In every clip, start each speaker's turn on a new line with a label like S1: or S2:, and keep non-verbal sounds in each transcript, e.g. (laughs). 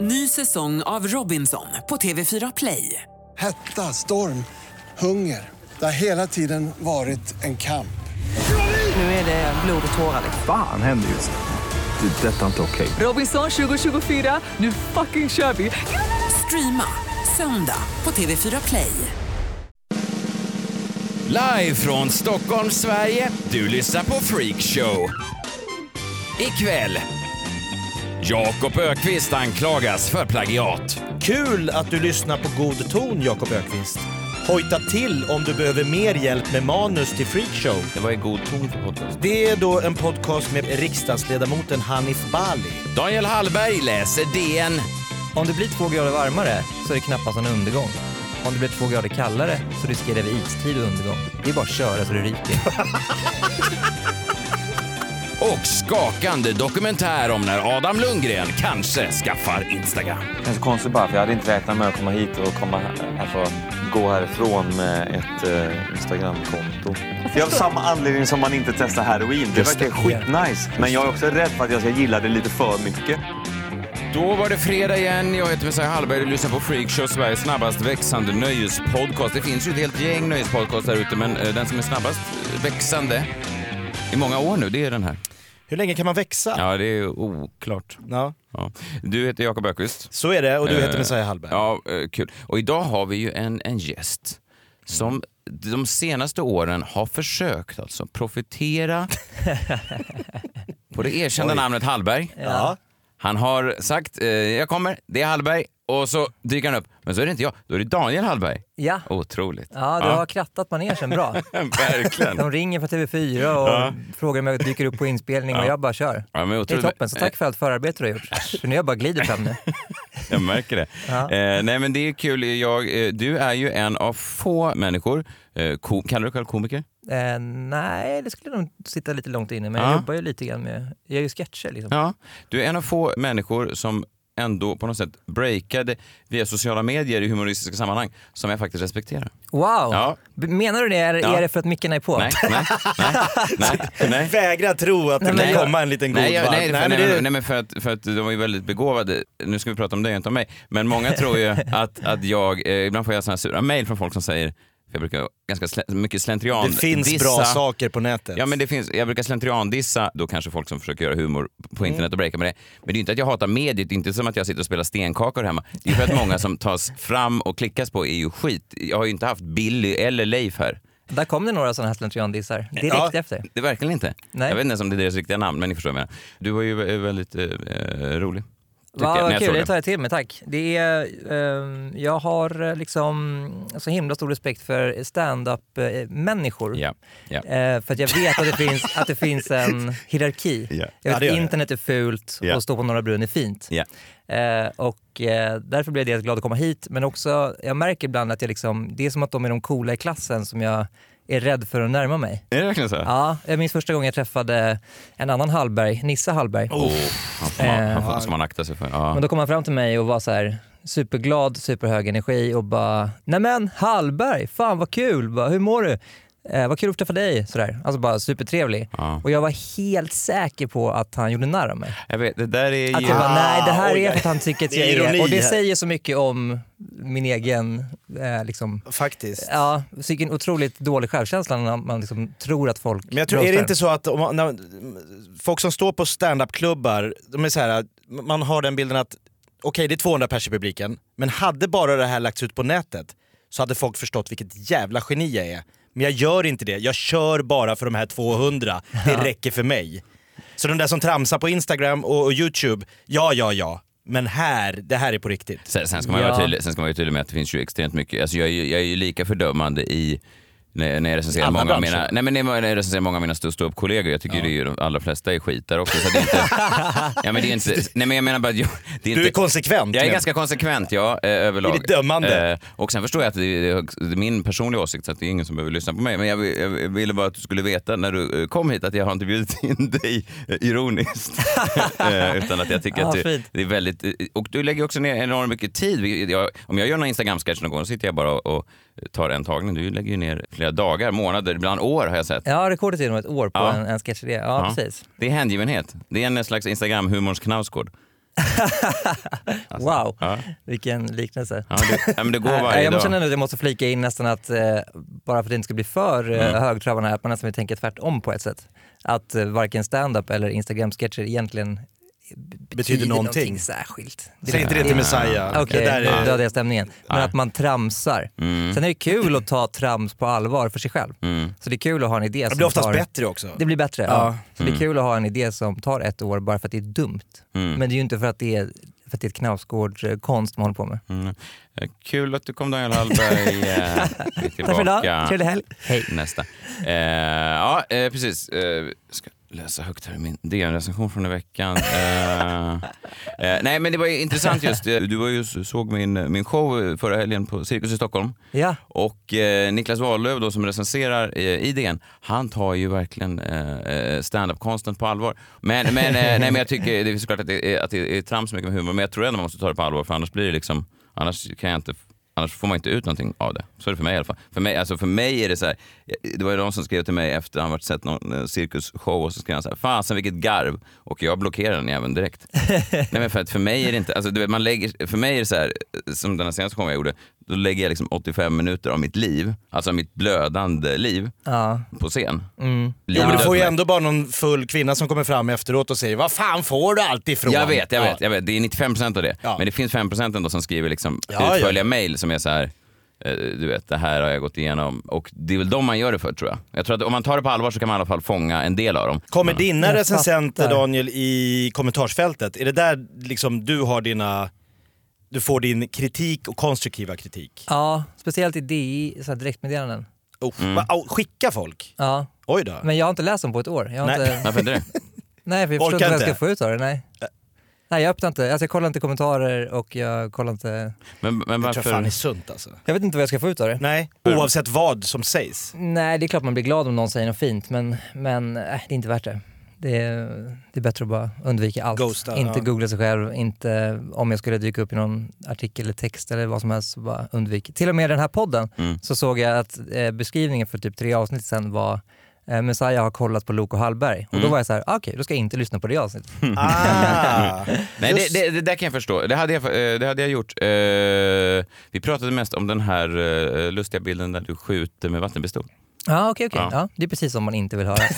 S1: Ny säsong av Robinson på TV4 Play.
S2: Hetta, storm, hunger. Det har hela tiden varit en kamp.
S1: Nu är det blod och tårar. liksom.
S3: Fan händer just nu. Det. är Detta är inte okej.
S1: Robinson 2024, nu fucking kör vi! Streama söndag på TV4 Play.
S4: Live från Stockholm, Sverige. Du lyssnar på Freak Show. Ikväll. Jakob Ökvist anklagas för plagiat.
S5: Kul att du lyssnar på god ton, Jakob Ökvist. Hojta till om du behöver mer hjälp med manus till Freakshow.
S6: Vad är god ton för podcast?
S5: Det är då en podcast med riksdagsledamoten Hanif Bali.
S4: Daniel Hallberg läser DN.
S6: Om det blir två grader varmare så är det knappast en undergång. Om det blir två grader kallare så riskerar vi istid och undergång. Det är bara att köra så du ryker.
S4: Och skakande dokumentär om när Adam Lundgren kanske skaffar Instagram.
S7: Det känns konstigt bara, för jag hade inte räknat med att komma hit och komma här, alltså, gå härifrån med ett eh, Instagramkonto. Det är av samma anledning som man inte testar heroin. Det
S6: Just
S7: verkar
S6: det.
S7: skitnice. Men jag är också rädd för att jag ska gilla det lite för mycket.
S4: Då var det fredag igen. Jag heter Messiah Hallberg och du lyssnar på Freakshow, Sveriges snabbast växande nöjespodcast. Det finns ju ett helt gäng nöjespodcast där ute, men eh, den som är snabbast eh, växande i många år nu, det är den här.
S5: Hur länge kan man växa?
S4: Ja, det är oklart.
S5: Ja.
S4: Ja. Du heter Jakob Ökvist.
S5: Så är det, och du heter
S4: Eh,
S5: Messiah Hallberg.
S4: Ja, eh, kul. Och idag har vi ju en, en gäst som de senaste åren har försökt alltså profitera på det erkända namnet Hallberg.
S5: Ja.
S4: Han har sagt eh, jag kommer, det är Hallberg och så dyker han upp. Men så är det inte jag, då är det Daniel Hallberg.
S6: Ja.
S4: Otroligt.
S6: Ja, du har krattat manegen bra.
S4: Verkligen.
S6: (laughs) De ringer från TV4 och frågar om jag dyker upp på inspelning och jag bara kör.
S4: Ja, men
S6: det är
S4: otroligt.
S6: toppen, så tack för allt förarbete du
S4: (laughs)
S6: har gjort. För nu är jag bara glider fram nu.
S4: Jag märker det. Eh, nej men det är kul. Jag, eh, du är ju en av få människor, eh, ko- kallar du dig själv komiker?
S6: Eh, nej, det skulle nog sitta lite långt inne, men
S4: Ja.
S6: jag jobbar ju lite grann med... Jag gör ju sketcher liksom.
S4: Ja, du är en av få människor som ändå på något sätt breakade via sociala medier i humoristiska sammanhang som jag faktiskt respekterar.
S6: Wow!
S4: Ja.
S6: B- Menar du det, eller
S4: Ja.
S6: är det för att mickarna är på?
S4: Nej, nej, nej, nej, nej.
S5: Vägra tro att det
S6: men
S5: kan
S6: jag-
S5: komma en liten god
S4: Nej, jag,
S5: man.
S4: nej, för, nej,
S5: men det-
S4: men- nej, men för att, för att de var ju väldigt begåvade. Nu ska vi prata om dig och inte om mig. Men många tror ju att, att jag, eh, ibland får jag såna här sura mejl från folk som säger, för jag brukar ganska slä, mycket slentrian
S5: det finns bra saker på nätet.
S4: Ja, men det finns, jag brukar slentriandissa då kanske folk som försöker göra humor
S6: Mm.
S4: på internet och breaka med det. Men det är ju inte att jag hatar mediet, det är inte som att jag sitter och spelar stenkakor hemma. Det är ju för att många som tas fram och klickas på är ju skit. Jag har ju inte haft Billy eller Leif här.
S6: Där kom det några sådana här slentriandissar direkt
S5: Ja.
S6: efter.
S4: Det är verkligen inte.
S6: Nej.
S4: Jag vet inte ens om det är deras riktiga namn, men ni förstår vad jag menar. Du var ju vä- väldigt eh, eh, rolig. tyckte
S6: Ja,
S4: jag, när
S6: vad
S4: jag
S6: kul,
S4: såg
S6: det
S4: den.
S6: tar jag till mig, tack. Det är, ehm, jag har eh, liksom så himla stor respekt för eh, stand-up-människor.
S4: Ja, ja.
S6: Eh, för att jag vet att det finns, att det finns en hierarki.
S4: (laughs) Ja.
S6: Jag
S5: Ja,
S6: vet
S5: det gör
S6: att
S5: det.
S6: internet är fult
S4: Ja.
S6: och stå på Norra Brunn är fint.
S4: Ja.
S6: Eh, och eh, därför blev jag dels glad att komma hit, men också, jag märker ibland att jag liksom, det är som att de är de coola i klassen som jag är rädd för att närma mig.
S4: Är det verkligen så?
S6: Ja, jag minns första gången jag träffade en annan Hallberg, Nisse Hallberg.
S4: Oh, han får man, han får,
S6: Eh,
S4: som man akta sig för.
S6: Men
S4: Ja.
S6: då kom han fram till mig och var så här superglad, superhög energi och bara “Nämen Hallberg, fan vad kul, bara, hur mår du? Eh, vad kul att träffa dig” sådär. Alltså bara supertrevlig.
S4: Ja.
S6: Och jag var helt säker på att han gjorde narr av mig.
S4: Jag vet, det där är
S6: Att
S4: ju...
S6: jag bara “Nej, det här
S5: oj,
S6: är för att han tycker att
S5: det är
S6: jag är...”
S5: ironi
S6: Och det
S5: här.
S6: säger så mycket om min egen, eh, liksom,
S5: Faktiskt.
S6: ja, vilken otroligt dålig självkänsla när man liksom tror att folk
S5: Men jag tror, är det
S6: roastar.
S5: inte så att om man, när, folk som står på standup-klubbar, de är så här, man har den bilden att okej det är 200 pers i publiken, men hade bara det här lagts ut på nätet så hade folk förstått vilket jävla geni jag är. Men jag gör inte det, jag kör bara för de här 200, det räcker för mig. Så de där som tramsar på Instagram och, och Youtube, ja ja ja, men här, det här är på riktigt.
S4: Sen, sen, ska man ju
S6: Ja.
S4: vara tydlig, sen ska man vara tydlig med att det finns ju extremt mycket. Alltså jag, är ju, jag är ju lika fördömande i när när jag recenserar
S5: Alla
S4: många av mina,
S5: branscher.
S4: nej men när jag recenserar många av mina ståuppkollegor, jag tycker det är ju de allra flesta är skitare också. Så att det är inte,
S5: (laughs)
S4: ja, men det är inte, nej men jag menar bara att jag, det är
S5: Du
S4: inte,
S5: är konsekvent.
S4: Jag är
S5: med-
S4: ganska konsekvent, ja, eh, överlag.
S5: I ditt dömande.
S4: Eh, och sen förstår jag att det är, det är min personliga åsikt, så att det är ingen som behöver lyssna på mig. Men jag, vill- jag ville bara att du skulle veta när du eh, kom hit att jag har inte bjudit (laughs) in dig eh, ironiskt.
S6: (laughs)
S4: Eh, Utan att jag tycker att du,
S6: Ja, fint.
S4: det är väldigt... eh, Och du lägger också ner enormt mycket tid. Vi- Jag, om jag gör någon Instagram-sketch någon gång så sitter jag bara och, och tar en tagning. Du lägger ju ner flera dagar, månader, ibland år har jag sett.
S6: Ja, rekordet är nog ett år på
S4: Ja.
S6: en, en sketchidé. Ja,
S4: Ja.
S6: precis.
S4: Det är hängivenhet. Det är en slags Instagram-humorns knausgård.
S5: Alltså,
S6: Wow,
S4: Ja.
S6: vilken liknelse.
S4: Ja, det, ja, men det går
S6: (laughs) Nej,
S4: varje
S6: Eh, jag
S4: dag.
S6: känner nu att jag måste flika in nästan att, eh, bara för att det inte ska bli för eh,
S5: Mm.
S6: högtravande här, att man nästan vill tänka tvärtom på ett sätt. Att eh, varken stand-up eller Instagram-sketcher egentligen betyder,
S5: någonting.
S6: särskilt.
S5: Säg inte det
S4: Ah.
S5: till Messiah.
S6: Okej,
S5: Det där
S6: då
S5: är- Mm.
S6: dödar jag stämningen. Men att man tramsar. Sen är det kul att ta trams på allvar för sig själv. Så det är kul att ha en idé som
S5: Det blir oftast
S6: tar...
S5: bättre Mm. också.
S6: Det blir bättre, ja. Så det är kul att ha en idé som tar ett år bara för att det är dumt.
S5: Mm.
S6: Men det är ju inte för att det är, för att det är ett knausgårdskonst man håller på med.
S5: Mm.
S4: Eh, Kul att du kom Daniel
S6: (laughs)
S4: Hallberg. Eh, Vi är
S6: Tack för idag,
S4: tillbaka
S6: trevlig helg. Hej.
S4: nästa. Eh, ja, eh, precis. Eh, ska läsa högt här i min DN-recension från i veckan. Eh, eh, nej, men det var ju intressant just. eh, Du var ju, såg min, min show förra helgen på Cirkus i Stockholm.
S6: Ja.
S4: Och eh, Niklas Wahlöf då som recenserar eh, i DN, han tar ju verkligen eh, standup-konsten på allvar. Men, men, eh, nej, men jag tycker det är såklart att det är, att det är trams mycket med humor, men jag tror ändå man måste ta det på allvar för annars blir det liksom, annars kan jag inte Annars får man inte ut någonting av det. Så är det för mig i alla fall. För mig, alltså för mig är det så här, eh, det var ju någon som skrev till mig efter han varit sett någon eh, cirkusshow och så skrev han så här, fasen vilket garv. Och jag blockerade den även direkt. Nej, men för, att för mig är det inte, alltså, du vet, man lägger, för mig är det så här, som den här senaste gången jag gjorde, då lägger jag liksom 85 minuter av mitt liv, alltså mitt blödande liv,
S6: Ja.
S4: på scen.
S5: Mm. Jo,
S4: Livet
S5: men du
S4: dör
S5: får ju
S4: för mig.
S5: ändå bara någon full kvinna som kommer fram efteråt och säger Vad fan får du allt ifrån?
S4: Jag vet, jag
S5: Ja.
S4: vet, jag vet. Det är 95% av det.
S5: Ja.
S4: Men det finns 5% ändå som skriver liksom
S5: Ja,
S4: utförliga
S5: ja.
S4: mejl som är så här. eh, Du vet, det här har jag gått igenom. Och det är väl de man gör det för tror jag. Jag tror att om man tar det på allvar så kan man i alla fall fånga en del av dem.
S5: Kommer dina
S6: Jag
S5: recensenter
S6: fattar.
S5: Daniel i kommentarsfältet, är det där liksom du har dina, du får din kritik och konstruktiva kritik?
S6: ja, speciellt i DI, så här direktmeddelanden.
S5: Oh,
S4: Mm.
S5: va, au, skicka folk?
S6: Ja.
S5: Oj då.
S6: Men jag har inte läst dem på ett år. Jag har
S5: Nej.
S6: nej. Inte,
S4: Varför inte
S5: (laughs)
S4: det?
S6: nej, för jag
S5: Orkar
S6: förstår inte vad jag ska
S5: inte.
S6: få ut av det. Nej. nej, jag öppnar inte. Alltså, jag kollar inte kommentarer och jag kollar inte...
S4: Men, men
S5: Jag tror fan det är
S4: varför?
S5: sunt alltså.
S6: Jag vet inte vad jag ska få ut av det.
S5: Nej, oavsett vad som sägs.
S6: Nej, det är klart man blir glad om någon säger något fint, men, men eh, det är inte värt det. Det är, det är bättre att bara undvika allt.
S5: Ghosta,
S6: inte
S5: ja.
S6: googla sig själv, inte om jag skulle dyka upp i någon artikel eller text eller vad som helst, så bara undvik. Till och med i den här podden
S4: Mm.
S6: så såg jag att eh, beskrivningen för typ tre avsnitt sen var eh, Messiah har kollat på Loke och Hallberg. Och då
S4: Mm.
S6: var jag så här, ah, okej, då ska jag inte lyssna på det avsnittet.
S4: (laughs)
S5: Ah.
S4: Nej, det,
S5: Just-
S4: det, det där kan jag förstå. Det hade jag, eh, det hade jag gjort. Eh, Vi pratade mest om den här eh, lustiga bilden där du skjuter med vattenpistol.
S6: Ah, okej, okej.
S4: Ja.
S6: ja. det är precis som man inte
S4: (laughs)
S6: vill höra.
S4: Nej,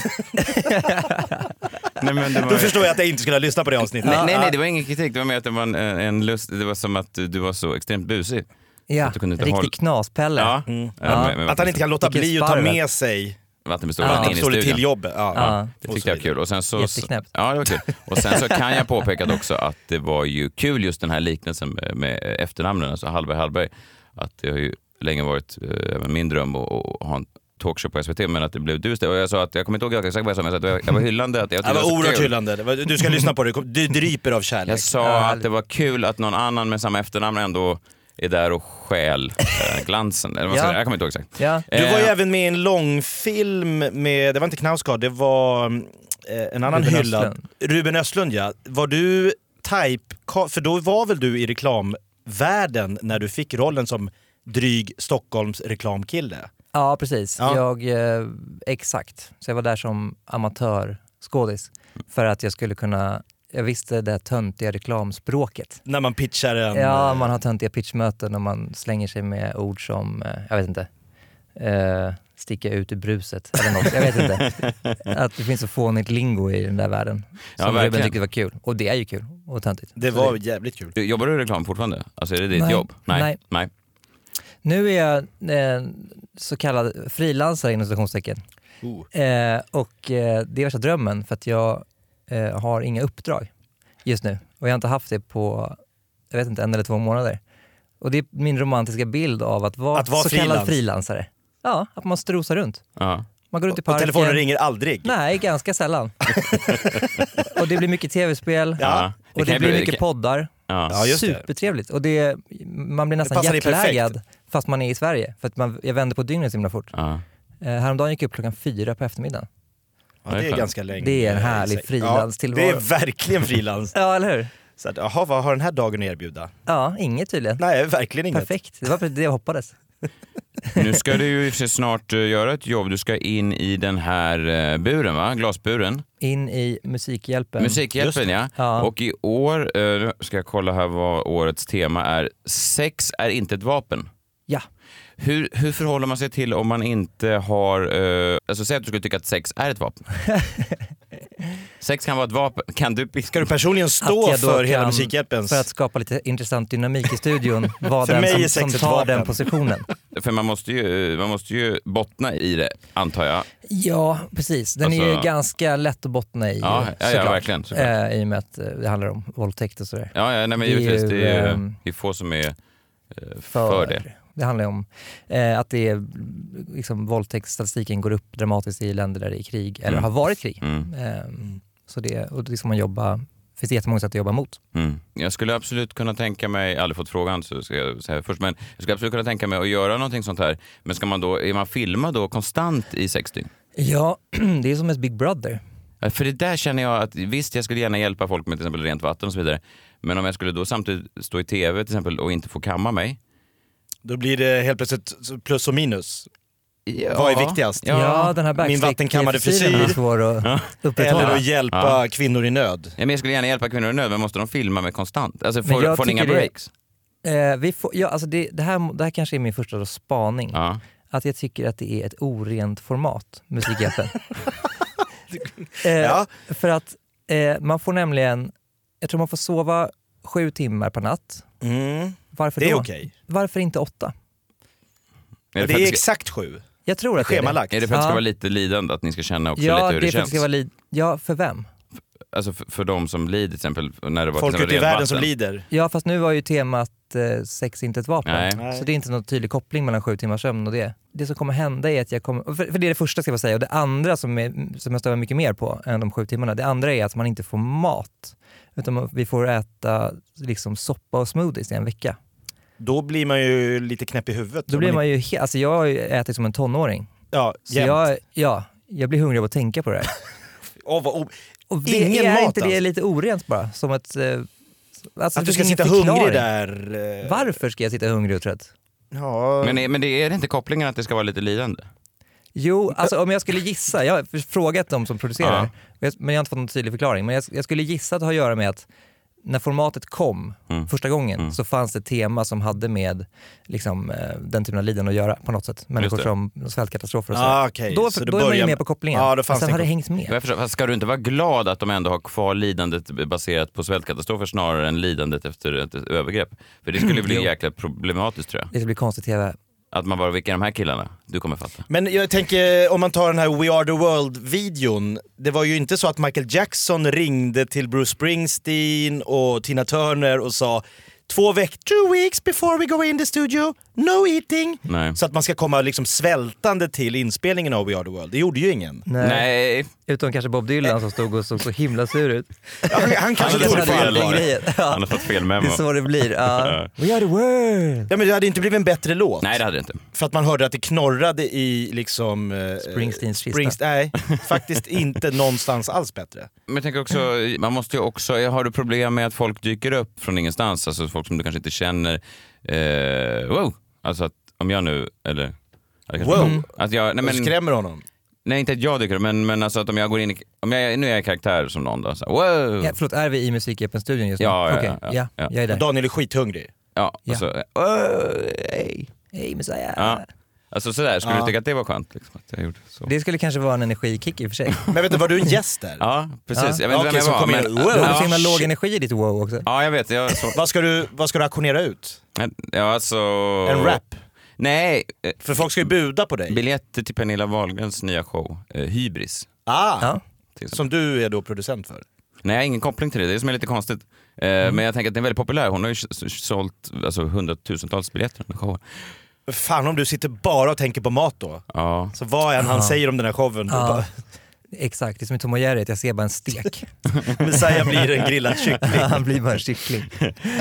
S4: men det var...
S5: Då förstår jag att jag inte skulle ha lyssnat på det avsnittet.
S4: Nej, nej, nej, det var ingen kritik. Det var mer att det var en, eh, en lust. Det var som att du- du var så extremt busig.
S6: ja,
S4: Att du kunde inte
S6: riktig
S4: hålla-
S6: knaspelle.
S4: Ja.
S6: Ja.
S4: med- med
S5: Att han inte kan låta
S6: Vilken
S5: bli att ta
S6: sparv.
S5: med sig
S4: vattenpistolen
S6: Ja.
S4: in i
S5: vattenpistolen
S4: studion.
S5: till jobbet. Ja.
S6: Ja.
S4: Det
S5: Och så
S4: tyckte jag var
S5: vidare.
S4: kul. Och sen så,
S6: Jätteknäppt.
S4: Ja, det var kul. Och sen så kan jag påpeka det också att det var ju kul just den här liknelsen med, med efternamnen, alltså Hallberg Hallberg. Att det har ju länge varit eh, även min dröm att, att ha en talkshow på SVT, men att det blev du istället. Och jag sa att, jag kommer inte ihåg exakt vad jag sa, men jag, sa att jag- jag var hyllande. Att jag
S5: Det
S4: tyckte
S6: Alltså,
S5: var
S4: så
S5: oerhört
S4: kul.
S5: hyllande. Det var- Du ska lyssna på det, du dryper av kärlek.
S4: Jag sa att det var kul att någon annan med samma efternamn ändå är där och stjäl
S6: (laughs)
S4: eh, glansen. Eller vad
S6: Ja.
S4: ja. Jag kommer inte ihåg exakt.
S6: Ja.
S5: Du var ju
S4: Eh,
S5: även med i en långfilm med, det var inte Knausgård, det var mm, eh, en annan
S6: Ruben
S5: hyllad.
S6: Östlund.
S5: Ruben Östlund ja. Var du type, för då var väl du i reklamvärlden när du fick rollen som dryg Stockholms reklamkille?
S6: Ja, precis.
S5: Ja.
S6: Jag, eh, exakt. Så jag var där som amatörskådis för att jag skulle kunna... Jag visste det här töntiga reklamspråket.
S5: När man pitchar en...
S6: Ja, man har töntiga pitchmöten och man slänger sig med ord som, eh, jag vet inte, eh, sticka ut i bruset eller något. Jag vet
S5: (laughs)
S6: inte. Att det finns så fånigt lingo i den där världen.
S4: Ja,
S6: Som Ruben
S4: verkligen.
S6: tyckte var kul. Och det är ju kul och töntigt.
S5: Det var jävligt kul.
S4: Jobbar du i reklam fortfarande? Alltså är det ditt
S6: Nej.
S4: jobb?
S6: Nej.
S4: Nej.
S6: Nu är jag eh, så kallad frilansare inom citationstecken. Eh, och eh, det är värsta drömmen för att jag eh, har inga uppdrag just nu. Och jag har inte haft det på, jag vet inte, en eller två månader. Och det är min romantiska bild av att vara,
S5: Att vara
S6: så
S5: frilans.
S6: kallad frilansare. Ja, att man strosar runt.
S4: Ja.
S6: Man går runt i
S5: Och
S6: parken.
S5: telefonen ringer aldrig.
S6: Nej,
S5: (laughs)
S6: ganska sällan. och det blir mycket tv-spel.
S4: Ja.
S6: Och det,
S4: kan ju
S6: blir
S4: bli-
S6: mycket
S4: kan-
S6: poddar.
S4: Ja.
S5: Ja, just det.
S6: Supertrevligt. Och det, man blir nästan
S5: passar dig perfekt.
S6: jetlaggad fast man är i Sverige. För att man, jag vänder på dygnet så himla fort.
S4: Ja.
S6: Eh, häromdagen gick jag upp klockan fyra på eftermiddagen.
S5: Ja, det är ganska länge.
S6: Det är en härlig
S5: Ja,
S6: frilanstillvaro.
S5: Det är verkligen frilans.
S6: Ja, eller hur?
S5: Så att, Jaha, vad har den här dagen att erbjuda?
S6: Ja, inget tydligen.
S5: Nej, verkligen inget.
S6: Perfekt. Det var precis det jag hoppades.
S4: Nu ska du ju i och för sig snart eh, göra ett jobb. Du ska in i den här eh, buren, va? glasburen.
S6: In i Musikhjälpen.
S4: Musikhjälpen, ja.
S6: Mm, Ja.
S4: Och i år, eh, nu ska jag kolla här vad årets tema är. Sex är inte ett vapen.
S6: Ja.
S4: Hur, hur förhåller man sig till om man inte har... Eh, alltså säg att du skulle tycka att sex är ett
S6: (laughs)
S4: vapen. sex kan vara ett vapen. Kan du...
S5: Ska du personligen
S6: Att
S5: stå
S6: jag då
S5: för hela
S6: kan-
S5: Musikhjälpens...
S6: För att skapa lite intressant dynamik
S5: (laughs)
S6: i studion. Var
S5: För mig är
S6: den
S5: sex
S6: som, som
S5: ett
S6: tar
S5: vapen.
S6: den positionen.
S4: För man måste, ju, eh, man måste ju bottna i det, antar jag.
S6: (laughs) Ja, precis. Den är ju
S4: Alltså-
S6: ganska lätt att bottna i.
S4: Ja, ja, ja,
S6: såklart.
S4: verkligen, såklart.
S6: Eh, I och med att eh, det handlar om våldtäkt och sådär.
S4: Ja, ja nej, men
S6: Det är
S4: givetvis. Det är,
S6: ju,
S4: ju,
S6: ehm,
S4: det är få som är eh, för, det.
S6: Det handlar ju om eh, att det är, liksom, våldtäktsstatistiken går upp dramatiskt i länder där det är krig, eller
S4: Mm.
S6: har varit krig.
S4: Mm,
S6: Eh, så det, och det ska man jobba, det finns jättemånga sätt att jobba mot.
S4: mm. Jag skulle absolut kunna tänka mig, aldrig fått frågan så ska jag säga först, men jag skulle absolut kunna tänka mig att göra någonting sånt här. Men ska man då, är man filmad då konstant i sex dygn?
S6: Ja, (clears throat) det är som ett Big Brother.
S4: Ja, För det där känner jag att, visst jag skulle gärna hjälpa folk med till exempel rent vatten och så vidare. Men om jag skulle då samtidigt stå i tv till exempel och inte få kamma mig.
S5: Då blir det helt plötsligt plus och minus.
S4: Ja.
S5: Vad är viktigast?
S4: Ja.
S6: Ja, den här
S5: Min vattenkammade
S6: backstick-frisyren är
S5: frisyr.
S6: svår att
S5: Eller
S6: upprätthålla. Eh,
S5: att hjälpa
S4: Ja.
S5: kvinnor i nöd.
S4: Ja, men jag skulle gärna hjälpa kvinnor i nöd, men måste de filma mig konstant? Alltså
S6: Men
S4: får,
S6: jag
S4: får ni inga
S6: tycker det-
S4: breaks?
S6: Eh, vi får, ja, alltså det, det, här, det här kanske är min första då spaning.
S4: Ja.
S6: Att jag tycker att det är ett orent format, (laughs) Musikhjälpen. eh,
S5: Ja.
S6: För att eh, man får nämligen, jag tror man får sova sju timmar per natt.
S5: Mm.
S6: Varför
S5: Det är
S6: då?
S5: okej.
S6: Varför inte åtta?
S4: Är det,
S5: Det
S4: för att
S5: är
S4: det ska,
S5: exakt sju.
S6: Jag tror att det är det.
S5: Schemalagt.
S4: är det för att det ska
S6: Ja.
S4: vara lite lidande, att ni ska känna också
S6: Ja,
S4: lite
S6: det
S4: hur
S6: är
S4: det,
S6: för att det
S4: känns?
S6: ska vara li- ja, för vem?
S4: Alltså för, för de som lider till exempel. När det var,
S5: Folk
S4: till exempel
S5: ute i
S4: rent
S5: världen
S4: vatten.
S5: som lider.
S6: Ja, fast nu var ju temat eh, sex inte ett vapen.
S4: Nej.
S5: Nej.
S6: Så det är inte någon tydlig koppling mellan sju timmars sömn och det. Det som kommer hända är att jag kommer, för, för det är det första ska jag bara säga, och det andra som, är, som jag stör mig mycket mer på än de sju timmarna, det andra är att man inte får mat. Utan man- vi får äta liksom soppa och smoothies i en vecka.
S5: Då blir man ju lite knäpp i huvudet.
S6: Då blir man ju, he- alltså jag har ju ätit som en tonåring.
S5: Ja,
S6: Så
S5: jämt.
S6: jag, ja, jag blir hungrig av att tänka på (laughs) det här.
S5: Åh, vad o-
S6: Och det,
S5: Ingen
S6: är
S5: mat
S6: inte det
S5: alltså.
S6: lite orent bara? Som ett, eh, alltså
S5: Att
S6: det
S5: du ska
S6: finns
S5: sitta
S6: ingen
S5: hungrig
S6: förklaring.
S5: där. eh,
S6: Varför ska jag sitta hungrig och trött?
S5: Ja.
S4: Men, är, men det, är det inte kopplingen att det ska vara lite lidande?
S6: Jo, alltså om jag skulle gissa, jag har frågat de som producerar, men jag har inte fått någon tydlig förklaring. Men jag, jag skulle gissa att det har att göra med att när formatet kom första gången så fanns det ett tema som hade med liksom, eh, den typen av lidande att göra på något sätt. Människor
S4: det.
S6: som svältkatastrofer och så.
S5: Ah, okej.
S6: Då,
S5: Så
S6: då,
S5: det
S6: är man ju
S5: börjar-
S6: med på kopplingen.
S5: Ja, då
S6: Men
S5: fanns
S6: sen
S5: det en
S6: har det hängt med.
S4: Jag förstår, fast ska du inte vara glad att de ändå har kvar lidandet baserat på svältkatastrofer snarare än lidandet efter ett övergrepp? För det skulle bli jäkla problematiskt tror jag.
S6: Det ska bli konstigt tv.
S4: Att man bara, vilka är de här killarna? Du kommer fatta.
S5: Men jag tänker om man tar den här We Are The World-videon. Det var ju inte så att Michael Jackson ringde till Bruce Springsteen och Tina Turner och sa två veckor, two weeks before we go in the studio, no eating.
S4: Nej.
S5: Så att man ska komma liksom svältande till inspelningen av We Are The World. Det gjorde ju ingen.
S6: Nej.
S4: Nej.
S6: Utom kanske Bob Dylan som stod och såg så himla sur ut.
S5: Han, han kanske
S4: Han
S5: tog det
S4: hade
S5: på
S4: fel.
S5: allvar.
S6: grejen. Ja,
S4: Han har fått fel
S6: det
S4: memo.
S6: är så det
S4: (laughs)
S6: blir. Ja. We are the
S4: Mm.
S6: world!
S5: Ja, men det hade inte blivit en bättre låt.
S4: Nej, det hade det inte.
S5: För att man hörde att det knorrade i liksom... eh,
S6: Springsteens kista.
S5: Springst- Nej, faktiskt inte någonstans alls bättre.
S4: Men jag tänker också, man måste ju också, har du problem med att folk dyker upp från ingenstans, alltså folk som du kanske inte känner, eh, wow, alltså att om jag nu, eller Ja, det kanske-
S5: Wow.
S4: Att jag, nej,
S5: Men...
S4: men,
S5: Skrämmer honom.
S4: nej inte att jag dyker upp, men, men alltså att om jag går in i, om jag, nu är jag i karaktär som någon då, så här, wow!
S6: Ja, förlåt, är vi i Musikhjälpen-studion just nu?
S4: Ja, ja,
S6: Okej,
S4: ja, ja,
S6: ja,
S4: ja.
S6: Jag är där.
S5: Daniel är skithungrig.
S4: Ja,
S6: Ja.
S4: och så, wow, hey.
S6: Hej Messiah!
S4: ja. Alltså sådär, skulle du
S5: Ja.
S4: tycka att det var skönt? Liksom, att jag gjorde så?
S6: Det skulle kanske vara en energikick i och för
S4: (laughs)
S6: sig.
S5: Men vet du, var du en gäst där?
S4: Ja, precis.
S6: Ja.
S4: Jag vet inte
S5: Okej,
S4: vem
S5: så
S4: jag var.
S5: kom in-
S4: Men,
S5: wow.
S6: Du har så
S4: ja.
S6: himla
S5: shit.
S6: låg energi i ditt wow också.
S4: ja, jag vet. Jag, så,
S5: Vad ska du, vad ska du auktionera ut?
S4: ja, alltså,
S5: En rap?
S4: Nej, eh,
S5: För folk ska ju buda på dig.
S4: biljetter till Pernilla Wahlgrens nya show, eh, Hybris.
S5: Ah,
S6: Ja.
S4: till exempel.
S5: Som du är då producent för.
S4: Nej, jag har ingen koppling till det. Det är det som är lite konstigt. Eh,
S5: Mm.
S4: Men jag tänker att den är väldigt populär. Hon har ju s- s- sålt alltså, hundratusentals biljetter. under showen.
S5: Fan om du sitter bara och tänker på mat då.
S4: Ja.
S5: Så vad än han säger om den här showen, då
S6: Ja.
S5: bara,
S6: Exakt, det är som i Tom och Jerry, att jag ser bara en
S4: (laughs)
S6: stek.
S5: Messiah blir en grillad kyckling.
S6: (laughs) Han blir bara en kyckling.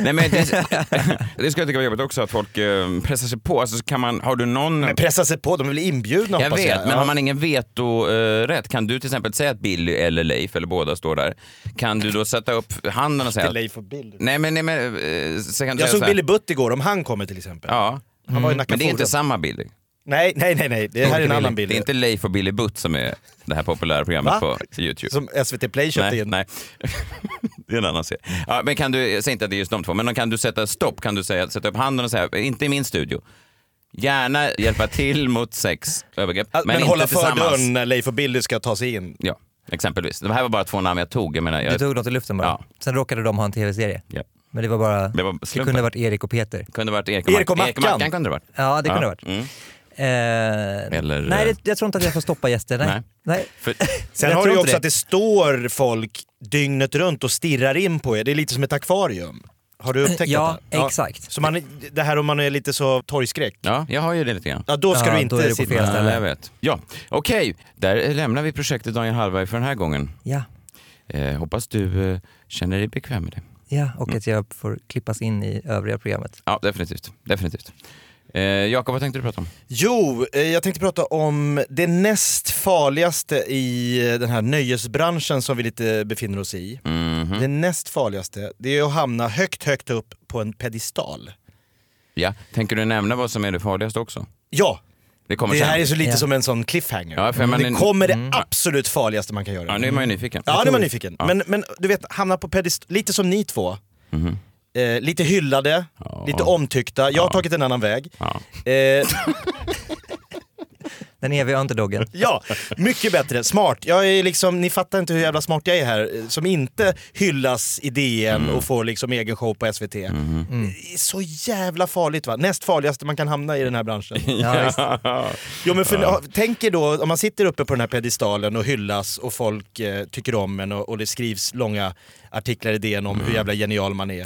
S4: Nej, men det, (laughs) det skulle jag tycka var jobbigt också, att folk eh, pressar sig på. Alltså, så kan man, har du någon...
S5: Men pressa sig på, de är väl inbjudna
S4: Jag
S5: hoppas
S4: vet,
S5: jag.
S4: men
S5: Ja.
S4: har man ingen vetorätt, kan du till exempel säga att Billy eller Leif, eller båda står där, kan du då sätta upp handen och säga... att-
S5: Leif och Bill.
S4: Nej, men... Nej, men eh, så kan du säga
S5: Jag
S4: så
S5: såg
S4: här.
S5: Billy Butt igår, om han kommer till exempel.
S4: Ja, Mm.
S5: Han var i Nacka
S4: men det är
S5: Forum.
S4: inte samma Billy.
S5: Nej, nej, nej, nej. det här är en annan bild.
S4: Det är inte Leif och Billy Butt som är det här populära programmet
S5: Va?
S4: på Youtube.
S5: Som SVT Play köpte
S4: Nej,
S5: in.
S4: nej. (laughs) det är en annan serie. Ja, men kan du, säg inte att det är just de två, men kan du sätta stopp? Kan du säga, sätta upp handen och säga, inte i min studio. Gärna hjälpa till mot sex övergrepp,
S5: Att-
S4: men,
S5: men
S4: inte
S5: hålla för
S4: tillsammans.
S5: dörren när Leif och Billy ska ta sig in.
S4: Ja, exempelvis. Det här var bara två namn jag tog. Jag menar,
S6: Du
S4: jag,
S6: tog något i luften bara.
S4: Ja.
S6: Sen råkade de ha en tv-serie.
S4: Ja.
S6: Men det var bara,
S4: Det
S6: det,
S4: var slumpen.
S6: kunde ha varit Erik och Peter.
S4: kunde varit Erik
S5: Erik och
S4: Mac-
S5: Mackan.
S4: Mackan kunde det varit.
S6: Ja, det kunde ha varit.
S4: Mm.
S6: Eh,
S4: Eller-
S6: nej, det, jag tror inte att jag får stoppa gäster. Nej.
S4: Nej.
S6: Nej. (laughs)
S4: För,
S5: Sen
S6: Jag
S5: har du
S6: tror
S5: ju
S6: inte
S5: också
S6: det.
S5: att det står folk dygnet runt och stirrar in på er. Det är lite som ett akvarium. Har du upptäckt
S6: Ja,
S5: detta?
S6: exakt.
S5: Så man, det här om man är lite så torgskräck.
S4: ja, jag har ju det lite grann.
S5: Ja, då ska
S6: Ja,
S5: du
S6: då är
S5: inte
S6: det på
S5: sitta...
S6: fel
S5: där.
S6: ställe.
S4: Ja, jag vet. Ja, okej. Där lämnar vi projektet Daniel Hallberg för den här gången.
S6: Ja,
S4: Eh, hoppas du eh, känner dig bekväm med det.
S6: ja,
S5: Mm.
S6: och att jag får klippas in i övriga programmet.
S4: Ja, definitivt. definitivt. Eh, Jakob, vad tänkte du prata om?
S5: Jo, eh, jag tänkte prata om det näst farligaste i eh, den här nöjesbranschen som vi lite befinner oss i.
S4: Mhm.
S5: Det näst farligaste, det är att hamna högt, högt upp på en pedestal.
S4: Ja. Tänker du nämna vad som är det farligaste också?
S5: Ja,
S4: Det kommer
S5: det
S4: sen.
S5: här är så lite
S6: Ja.
S5: som en sån cliffhanger. Mm.
S4: Ja, för man
S5: det
S4: är-
S5: kommer det absolut farligaste man kan göra.
S4: Ja, nu är man ju nyfiken.
S5: Ja, nu är man nyfiken. Men, men du vet, hamna på pedestal, lite som ni två. Eh, lite hyllade, lite omtyckta. Jag har tagit en annan väg.
S4: Ja.
S5: Eh,
S6: Den eviga underdoggen.
S5: ja, mycket bättre. Smart. Jag är liksom, ni fattar inte hur jävla smart jag är här. eh, Som inte hyllas i DN
S6: Mm.
S5: och får liksom egen show på SVT. Mm. Det är så jävla farligt va. Näst farligaste man kan hamna i den här branschen.
S6: (laughs) Ja, visst.
S5: Jo, men för, Tänk er då om man sitter uppe på den här pedestalen och hyllas och folk eh, tycker om en och, och det skrivs långa artiklar i DN om
S6: Mm.
S5: hur jävla genial man är.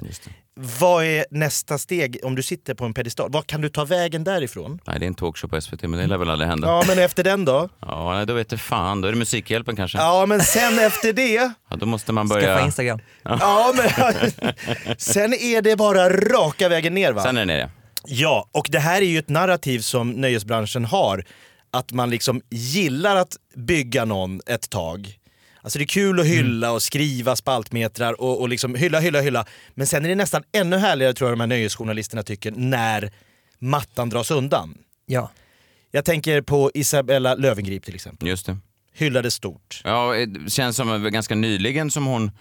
S5: Vad är nästa steg om du sitter på en pedestal? Vad kan du ta vägen
S6: (laughs)
S5: därifrån?
S4: Nej, det är en talkshow på SVT, men det lär väl aldrig hända. Ja,
S5: Ja, men efter den då?
S4: nej, då vet du fan. Då är det Musikhjälpen kanske. Ja.
S5: Ja, men sen efter det?
S4: då måste man (laughs)
S6: Skaffa
S4: börja...
S6: Instagram.
S5: Ja, men, sen är det bara raka vägen ner va?
S4: Sen är det nere.
S5: Ja, och det här är ju ett narrativ som nöjesbranschen har. Att man liksom gillar att bygga någon ett tag. Alltså det är kul att hylla och skriva spaltmetrar och, och liksom hylla, hylla, hylla. Men sen är det nästan ännu härligare tror jag de här nöjesjournalisterna tycker när mattan dras undan.
S6: Ja.
S5: Jag tänker på Isabella Löwengrip till exempel.
S4: Just det. att
S5: Hyllades stort.
S4: Ja, eh, det känns som eh, ganska nyligen som hon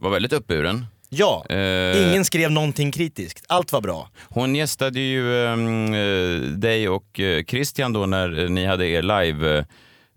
S4: var väldigt uppburen.
S5: Ja,
S4: Eh.
S5: ingen skrev någonting kritiskt. Allt var bra.
S4: Hon gästade ju ehm, eh, dig och eh, Christian då när eh, ni hade er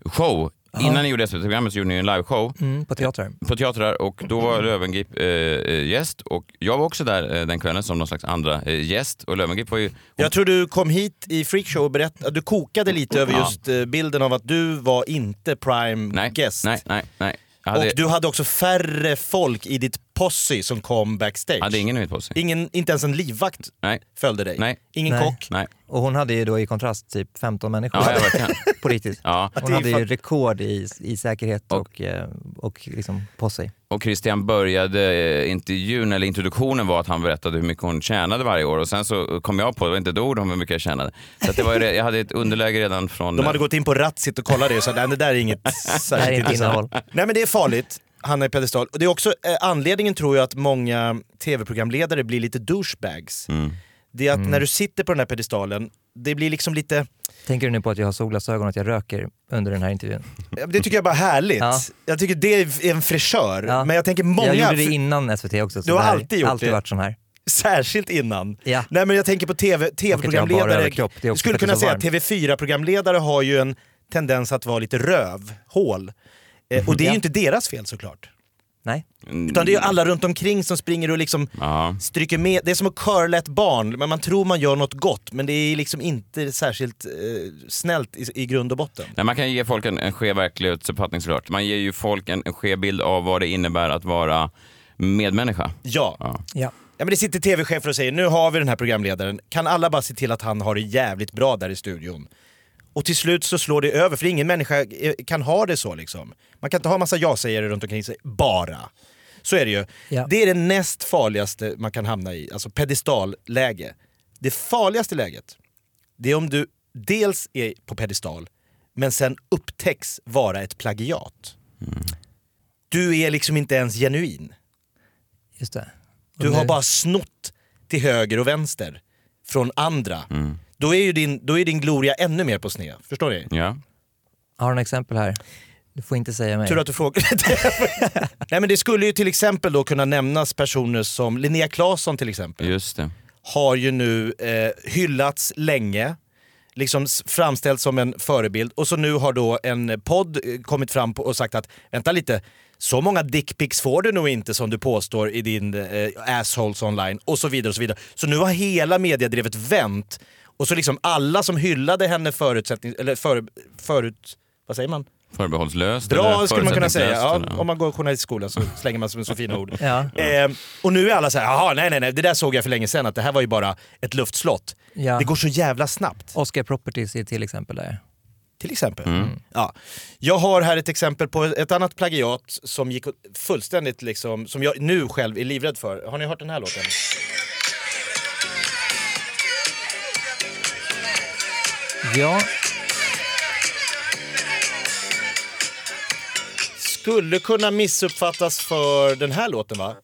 S4: live-show. Innan ni gjorde SVT-programmet så gjorde ni en live-show
S6: Mm, på teatrar.
S4: på teatrar och då var Löwengrip eh, eh, gäst och jag var också där eh, den kvällen som någon slags andra eh, gäst och Löwengrip var ju...
S5: Jag tror du kom hit i Freakshow och berättade, du kokade lite över
S4: Ja.
S5: just eh, bilden av att du var inte prime
S4: nej,
S5: guest.
S4: nej, nej, nej. Jag hade,
S5: Och du hade också färre folk i ditt posse som kom backstage.
S4: hade ingen i mitt på sig.
S5: Ingen, inte ens en livvakt
S4: Nej,
S5: följde dig.
S4: Nej.
S5: Ingen
S6: Nej.
S5: kock.
S4: nej.
S6: Och hon hade ju då i kontrast typ 15 människor
S4: Ja, jag verkligen.
S6: (laughs) politiskt.
S4: Ja.
S6: Hon
S5: är
S6: hade ju
S5: fan-
S6: rekord i, i säkerhet och, eh, och liksom på sig.
S4: Och Christian började eh, intervjun, eller introduktionen var att han berättade hur mycket hon tjänade varje år och sen så kom jag på, det var inte ett ord om hur mycket jag tjänade. Så att det var ju, re- jag hade ett underläge redan från...
S5: De hade gått in på Ratsit och kollat det och sa nej det där
S4: (laughs)
S5: är inget
S6: Det här är
S5: särskilt
S6: inte
S5: intressant."
S6: innehåll.
S5: Nej men det är farligt, hamna i pedestal. Och det är också eh, anledningen tror jag att många tv-programledare blir lite douchebags.
S4: eh,
S5: Det är
S4: Mm.
S5: att när du sitter på den här pedestalen, det blir liksom lite,
S6: Tänker du nu på att jag har solglasögon och att jag röker under den här intervjun?
S5: Ja, Det tycker jag bara är härligt.
S6: Ja.
S5: Jag tycker det är en fräschör.
S6: Ja.
S5: Men jag tänker många,
S6: Jag gjorde det innan SVT också. så
S5: Du har
S6: det här-
S5: alltid gjort
S6: alltid
S5: det.
S6: varit sån här.
S5: särskilt innan.
S6: Ja.
S5: Nej men jag tänker på TV,
S6: Och att jag har bara
S5: tv-programledare.
S6: överkropp, det är
S5: Jag
S6: också
S5: skulle
S6: för att det
S5: kunna
S6: är så
S5: säga att TV4-programledare har ju en tendens att vara lite rövhål. Eh, och det är ju
S6: Mhm. Ja.
S5: inte deras fel såklart.
S6: Nej.
S5: Utan det är ju alla runt omkring som springer och liksom
S4: mm, Ja.
S5: stryker med. Det är som att curla ett barn, men man tror man gör något gott men det är liksom inte särskilt eh, snällt i, i grund och botten.
S4: Nej, man kan ju ge folk en, en skev verklighetsuppfattning såklart. Man ger ju folk en, en skev bild av vad det innebär att vara medmänniska.
S5: Ja.
S4: Ja.
S6: Ja.
S5: Ja, men det sitter tv-chefer och säger nu har vi den här programledaren, kan alla bara se till att han har det jävligt bra där i studion? Och till slut så slår det över, för ingen människa eh, kan ha det så liksom. Man kan inte ha massa ja-sägare runt omkring sig, bara. Så är det ju.
S6: Ja.
S5: Det är det näst farligaste man kan hamna i, alltså pedestalläge. Det farligaste läget, det är om du dels är på pedestal, men sen upptäcks vara ett plagiat. Du är liksom inte ens genuin.
S6: Just det. Och
S5: Du har
S6: nu-
S5: bara snott till höger och vänster från andra. Då är ju din, då är din gloria ännu mer på sned. Förstår ni?
S4: Ja.
S6: Jag har en exempel här. Du får inte säga mig.
S5: Tur att du frågar. (laughs) Nej men det skulle ju till exempel då kunna nämnas personer som Linnea Claesson till exempel.
S4: Just det.
S5: Har ju nu eh, hyllats länge, liksom s- framställts som en förebild och så nu har då en podd eh, kommit fram på- och sagt att vänta lite, så många dickpics får du nog inte som du påstår i din eh, assholes online och så vidare och så vidare. Så nu har hela mediedrevet vänt och så liksom alla som hyllade henne förutsättning, eller före- förut, vad säger man?
S4: Förbehållslöst.
S5: Bra
S4: eller
S5: skulle man kunna säga. Ja,
S4: förutsättningslöst, eller?
S5: om man går journalistskola så slänger man sig så fina ord.
S6: (laughs) Ja.
S5: Eh, och nu är alla så här, jaha nej nej nej, det där såg jag för länge sedan att det här var ju bara ett luftslott.
S6: Ja.
S5: Det går så jävla snabbt,
S6: Oscar Properties är till exempel där.
S5: till exempel.
S4: Mm.
S5: Ja. Jag har här ett exempel på ett annat plagiat som gick fullständigt liksom, som jag nu själv är livrädd för. Har ni hört den här låten?
S6: Ja,
S5: Skulle kunna missuppfattas för den här låten va?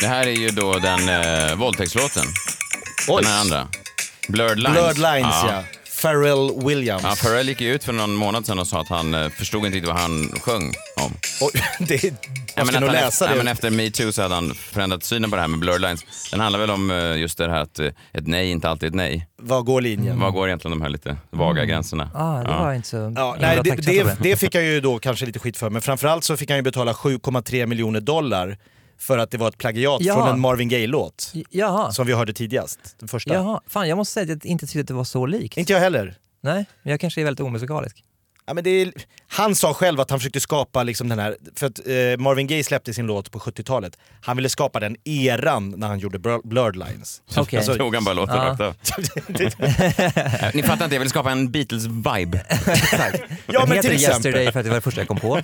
S4: Det här är ju då den eh, våldtäktslåten.
S5: Oj.
S4: Den här andra. Blurred Lines.
S5: Blurred Lines ja. Pharrell Williams.
S4: Ja, Pharrell gick ju ut för någon månad sedan och sa att han eh, förstod inte riktigt vad han sjöng om.
S5: Oj, (laughs) det är,
S4: Ja,
S5: jag
S4: men
S5: ska
S4: att
S5: nog
S4: han
S5: läsa
S4: efter,
S5: det.
S4: Ja, men efter metoo så hade han förändrat synen på det här med blurred lines. Den handlar väl om eh, just det här att eh, ett nej inte alltid är ett nej.
S5: Var går linjen?
S4: Var går egentligen de här lite vaga
S5: Mm.
S4: gränserna?
S6: ah, det var inte så...
S5: Ja, nej,
S6: Jag
S5: det,
S6: var tacksam
S5: det,
S6: för
S5: det fick jag ju då kanske lite skit för, men framförallt så fick han ju betala 7,3 miljoner dollar för att det var ett plagiat
S6: Ja.
S5: från en Marvin Gaye-låt.
S6: Jaha.
S5: Som vi hörde tidigast, den första.
S6: Jaha, fan jag måste säga att jag inte tyckte att det var så likt.
S5: Inte Alltså, jag heller.
S6: Nej, men jag kanske är
S5: (laughs)
S6: väldigt omusikalisk.
S5: Ja, men det är, han sa själv att han försökte skapa liksom den här, för att eh, Marvin Gaye släppte sin låt på 70-talet. Han ville skapa den eran när han gjorde Blur- Blurred Lines.
S4: Så
S6: okej.
S4: så tog han bara låten rakt
S5: (laughs)
S4: av. Eh, Ni fattar inte, jag vill skapa en Beatles-vibe.
S5: Ja
S6: Den
S5: men
S6: heter
S5: till exempel.
S6: Yesterday för att det var det första jag kom på.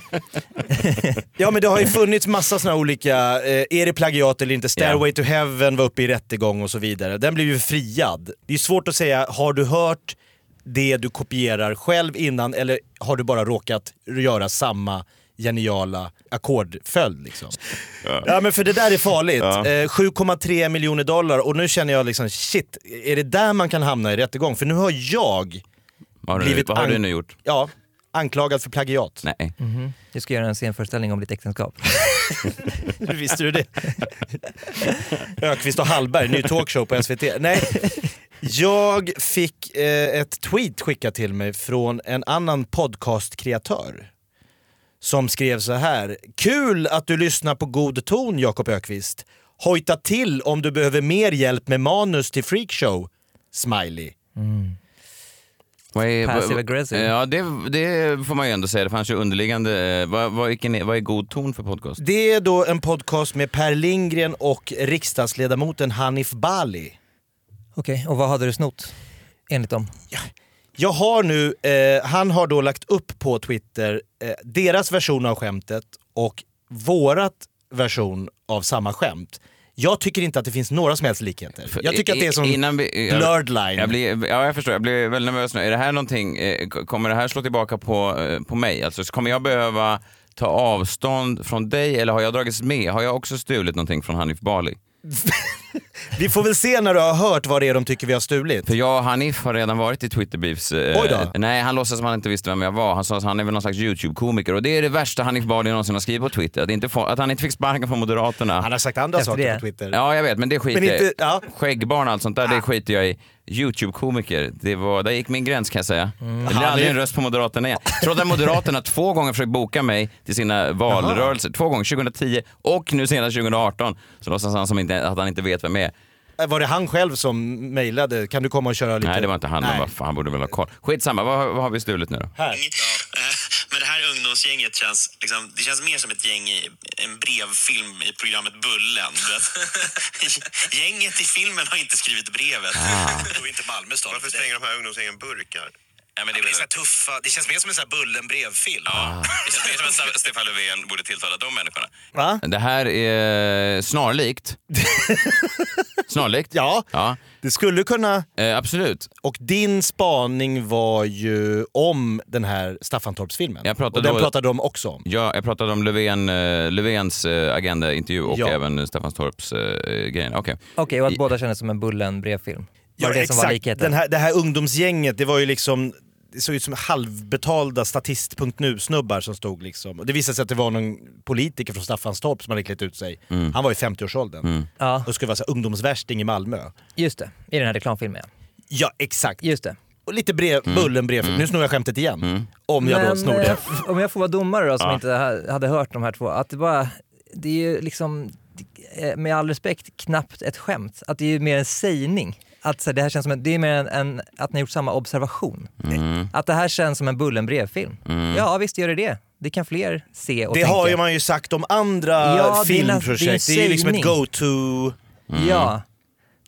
S5: Ja men det har ju funnits massa såna här olika, eh, är det plagiat eller inte? Stairway to heaven var uppe i rättegång och så vidare. Den blev ju friad. Det är svårt att säga, har du hört det du kopierar själv innan eller har du bara råkat göra samma geniala ackordföljd liksom? Ja. men för det där är farligt. Eh, 7,3 miljoner dollar och nu känner jag liksom shit, är det där man kan hamna i rättegång? För nu har jag,
S4: Vad har, du, nu-
S5: Blivit
S4: vad har du
S5: ang-
S4: nu gjort?
S5: ja, anklagad för plagiat.
S4: Nej.
S6: Du ska göra en scenföreställning om ditt äktenskap.
S5: Hur (laughs) visste du det? Ökvist och Hallberg, ny talkshow på SVT. Nej, jag fick eh, ett tweet skickat till mig från en annan podcastkreatör som skrev så här. Kul att du lyssnar på god ton, Jakob Ökvist. Hojta till om du behöver mer hjälp med manus till freakshow. Smiley.
S4: Vad är,
S6: Passive
S4: vad-
S6: aggressive.
S4: Ja, det, det får man ju ändå säga. Det fanns ju underliggande... eh, Vad, vad, vilken är, vad är god ton för podcast?
S5: Det är då en podcast med Per Lindgren och riksdagsledamoten Hanif Bali.
S6: Okej, och vad hade du snott? Enligt dem.
S5: Jag har nu, eh, han har då lagt upp på Twitter eh, deras version av skämtet och vårat version av samma skämt. Jag tycker inte att det finns några som helst likheter.
S4: För-
S5: Jag tycker att det är som
S4: i- innan vi- jag-
S5: blurred line.
S4: Jag blir, ja, jag förstår. Jag blir väldigt nervös nu. Är det här någonting, eh, k- kommer det här slå tillbaka på, eh, på mig? Alltså, så kommer jag behöva ta avstånd från dig eller har jag dragits med? Har jag också stulit någonting från Hanif Bali?
S5: Vi får väl se när du har hört vad det är de tycker vi har stulit.
S4: För jag och Hanif har redan varit i Twitter Beefs. eh,
S5: Oj då.
S4: Nej, han låtsas som han inte visste vem jag var. Han sa att han är väl någon slags YouTube-komiker och det är det värsta Hanif Bali någonsin har skrivit på Twitter. Att, inte få, att han inte fick sparken från Moderaterna.
S5: Han har sagt andra
S6: Efter
S5: saker
S6: det.
S5: på Twitter.
S4: Ja, jag vet, men det skiter
S5: Men
S4: jag i.
S5: inte- ja. Ah.
S4: Skäggbarn och allt sånt där, det skiter jag i. Youtube-komiker, det var, där gick min gräns kan jag säga. Det blir
S5: Mm. Han
S4: aldrig
S5: är-
S4: en röst på Moderaterna igen. Trots att
S5: (laughs)
S4: Moderaterna två gånger försökt boka mig till sina valrörelser. Två gånger, 2010 och nu senast 2018. Så låtsas han som inte, att han inte vet vem jag är.
S5: Eh, Var det han själv som mejlade? Kan du komma och köra lite?
S4: Nej, det var inte han.
S5: Nej.
S4: Men vad fan, han borde väl ha koll. Skitsamma, vad, har- vad har vi stulit nu då?
S5: Här.
S8: Men det här ungdomsgänget känns, liksom, det känns mer som ett gäng i en brevfilm i programmet Bullen. Du vet. Gänget i filmen har inte skrivit brevet.
S7: Ah.
S8: (laughs) Och inte Malmö stad. Varför slänger de här ungdomsgängen burkar? Ja, men det, är så här tuffa, det känns mer som en sån här Bullen-brevfilm. Det känns mer som att Sta- Stefan Löfven borde tilltala de människorna.
S5: Va? (laughs)
S4: Det här är snarlikt. Snarlikt?
S5: Ja.
S4: ja.
S5: Det skulle kunna...
S4: Eh, absolut.
S5: Och din spaning var ju om den här Staffantorpsfilmen.
S4: Jag pratade
S5: och den
S4: då-
S5: pratade de också om.
S4: Ja, jag pratade om Löfven, eh, Löfvens eh, Agenda-intervju och
S5: Ja.
S4: även Staffanstorps eh, grejen. Okej.
S6: Okej, och att båda kändes som en bullen brevfilm. Var det det som var likheten?
S5: Den här, det här ungdomsgänget, det var ju liksom det såg ut som halvbetalda statist.nu-snubbar som stod liksom. Och det visade sig att det var någon politiker från Staffanstorp som hade klätt ut sig.
S6: Mm.
S5: Han var i 50-årsåldern.
S6: Ja,
S5: Och skulle vara så här, ungdomsvärsting i Malmö.
S6: just det. I den här reklamfilmen ja.
S5: Ja, exakt.
S6: Just det.
S5: Och lite brev,
S6: Mm.
S5: bullen brev. Nu snor jag skämtet igen. Om jag då
S6: Men,
S5: snor det.
S6: eh, (laughs) om jag får vara domare då, som inte ha- hade hört de här två. Att det bara, det är ju liksom, eh, med all respekt, knappt ett skämt. Att det är ju mer en sägning. Att så, här, det här känns som en, det är mer en, en, att ni har gjort samma observation.
S5: Mm.
S6: Att det här känns som en bullen brevfilm. Ja, visst gör det det. Det kan fler se och
S5: Det
S6: tänka.
S5: har ju man ju sagt om andra
S6: Ja, det är en-
S5: filmprojekt.
S6: det
S5: Det
S6: är en
S5: är ju liksom ett
S6: sägning.
S5: go-to...
S6: Mm. Ja.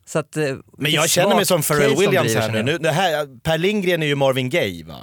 S6: Så att, eh,
S5: Men
S6: vilket
S5: jag känner mig
S6: svagt
S5: som
S6: case
S5: Pharrell
S6: de
S5: Williams
S6: driver,
S5: här
S6: känner
S5: nu.
S6: jag.
S5: nu det här, per Lindgren är ju Marvin Gaye va?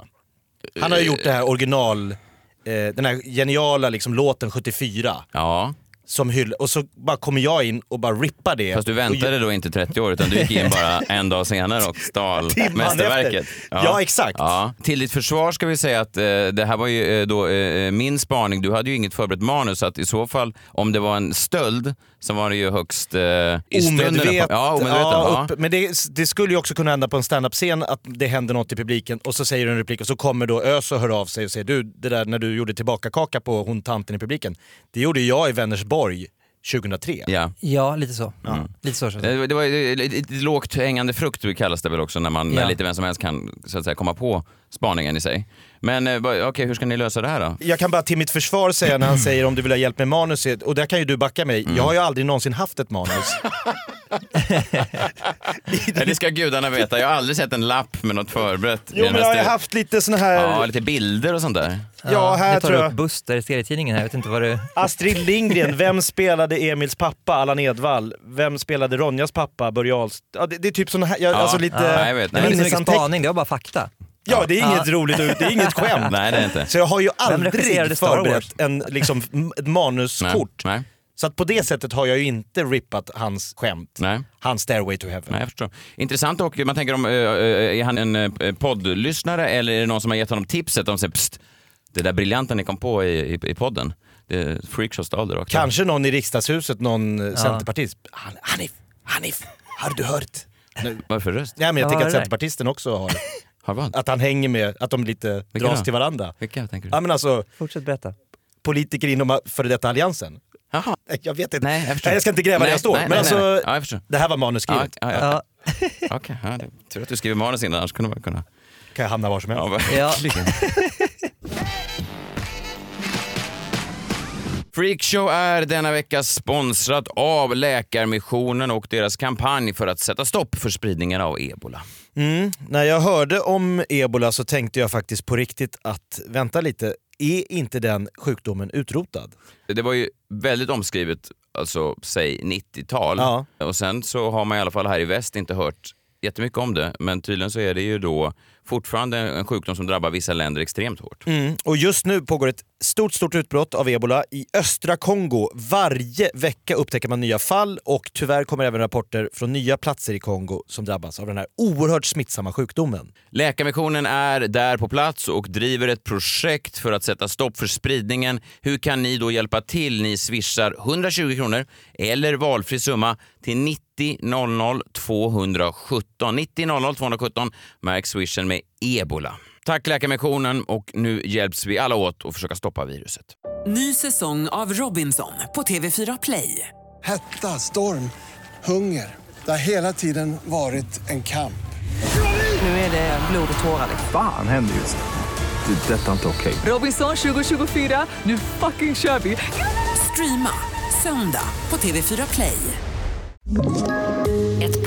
S5: Han
S4: Eh,
S5: har ju gjort det här original, eh, den här geniala liksom låten 74.
S4: Ja,
S5: Som hyll, och så bara kommer jag in och bara rippar det.
S4: fast du
S5: Och
S4: väntade då inte 30 år utan du gick
S5: (laughs)
S4: in bara en dag senare och stal
S5: Timman efter.
S4: mästerverket.
S5: Ja, exakt.
S4: Ja. Till ditt försvar ska vi säga att eh, det här var ju eh, då eh, min spaning. Du hade ju inget förberett manus så att i så fall om det var en stöld så var det ju högst eh, i stunden-
S5: Omedvetet.
S4: Ja, omedveten. Ja,
S5: upp- Men det, det skulle ju också kunna hända på en standup-scen att det händer något i publiken och så säger du en replik och så kommer då Ös och hör av sig och säger du, det där när du gjorde tillbaka-kaka på hon tanten i publiken, det gjorde jag i Vänersborg 2003.
S4: ja.
S6: Ja, lite så. Mm. Lite så känns
S5: Eh,
S6: det.
S4: Eh, Det, det var ju lite lite lågt hängande frukt kallas det väl också när man när
S6: Ja.
S4: lite vem som helst kan så att säga, komma på spaningen i sig. Men eh, vad- okej, hur ska ni lösa det här då?
S5: Jag kan bara till mitt försvar säga (clears throat) när han säger om du vill ha hjälp med manus, och där kan ju du backa mig, jag har ju aldrig någonsin haft ett manus.
S4: (laughs) Ja, det ska gudarna veta. Jag har aldrig sett en lapp med något förberett. i
S5: (laughs) jo
S4: den
S5: men
S4: här
S5: jag har ju
S4: stu-
S5: haft eh, lite sån här,
S4: Ja,
S5: ja,
S4: lite bilder och sånt där.
S5: här
S6: nu tar
S5: tror
S6: du upp
S5: jag.
S6: Buster, serietidningen här. Jag vet inte vad du...
S5: Astrid Lindgren, vem spelade Emils pappa Allan Edwall? Vem spelade Ronjas pappa Börje Ahlst- ja, det, det är typ sån här, jag,
S4: Ja,
S5: alltså lite...
S4: ja, jag vet.
S6: Det var inte så mycket
S5: minnesanteck-
S6: spaning, det var bara fakta.
S5: Ja, det är inget roligt, ut- det är (laughs) inget skämt.
S4: Nej, det är inte.
S5: Så jag har ju
S6: regisserade
S5: aldrig
S6: Star Wars?
S5: förberett en, liksom, m- ett
S4: Nej,
S5: manuskort.
S4: nej,
S5: Så att på det sättet har jag ju inte rippat hans skämt.
S4: nej.
S5: Hans stairway to heaven.
S4: Nej, jag förstår. Intressant och man tänker om, eh, eh, är han en eh, poddlyssnare eller är det någon som har gett honom tipset om sig, psst, det där briljanta ni kom på i, i, i podden, det freakshow stal det rakt av."
S5: Kanske någon i riksdagshuset, någon eh, centerpartist. Han, Hanif, Hanif, har du hört?
S4: Varför röst?
S5: Nej men jag
S6: Vad
S5: tänker
S6: har
S5: att
S6: det där?
S5: centerpartisten också har det.
S4: Har vad?
S5: Att han hänger med, att de lite
S4: Vilka
S5: dras
S4: då?
S5: till varandra.
S4: Vilka tänker du?
S5: Ja men alltså,
S6: Fortsätt berätta.
S5: politiker inom före detta alliansen.
S4: Jaha.
S5: Nej, Jag vet inte.
S4: Nej, jag förstår.
S5: ska inte gräva där
S4: Nej,
S5: jag står.
S4: nej,
S5: men
S4: nej,
S5: alltså,
S4: nej. Ja, jag förstår.
S5: det här var
S4: Ja,
S5: manuskrivet.
S4: ja, ja.
S6: Ja,
S4: Okej, ja, det- tur att du skriver manus innan, annars kunde man kunna...
S5: Kan jag hamna var som helst.
S4: Ja,
S6: ja.
S4: Freakshow är denna vecka sponsrat av Läkarmissionen och deras kampanj för att sätta stopp för spridningen av ebola.
S5: Mm. När jag hörde om ebola så tänkte jag faktiskt på riktigt att vänta lite, är inte den sjukdomen utrotad?
S4: Det var ju väldigt omskrivet, alltså säg 90-tal.
S5: Ja.
S4: Och sen så har man i alla fall här i väst inte hört jättemycket om det. Men tydligen så är det ju då fortfarande en sjukdom som drabbar vissa länder extremt hårt.
S5: Och just nu pågår ett stort, stort utbrott av ebola i östra Kongo. Varje vecka upptäcker man nya fall och tyvärr kommer även rapporter från nya platser i Kongo som drabbas av den här oerhört smittsamma sjukdomen.
S4: Läkarmissionen är där på plats och driver ett projekt för att sätta stopp för spridningen. Hur kan ni då hjälpa till? Ni swishar 120 kronor eller valfri summa till 90 00 217. 90 00 217 märks swishen med ebola. Tack Läkarmissionen och nu hjälps vi alla åt att försöka stoppa viruset.
S1: Ny säsong av Robinson på TV4 Play.
S2: Hetta, storm, hunger. Det har hela tiden varit en kamp.
S1: Nu är det blod och tårar.
S3: Fan händer just det. Det är detta inte okej.
S1: Robinson 2024, nu fucking kör vi! Streama söndag på TV4 Play.
S9: Ett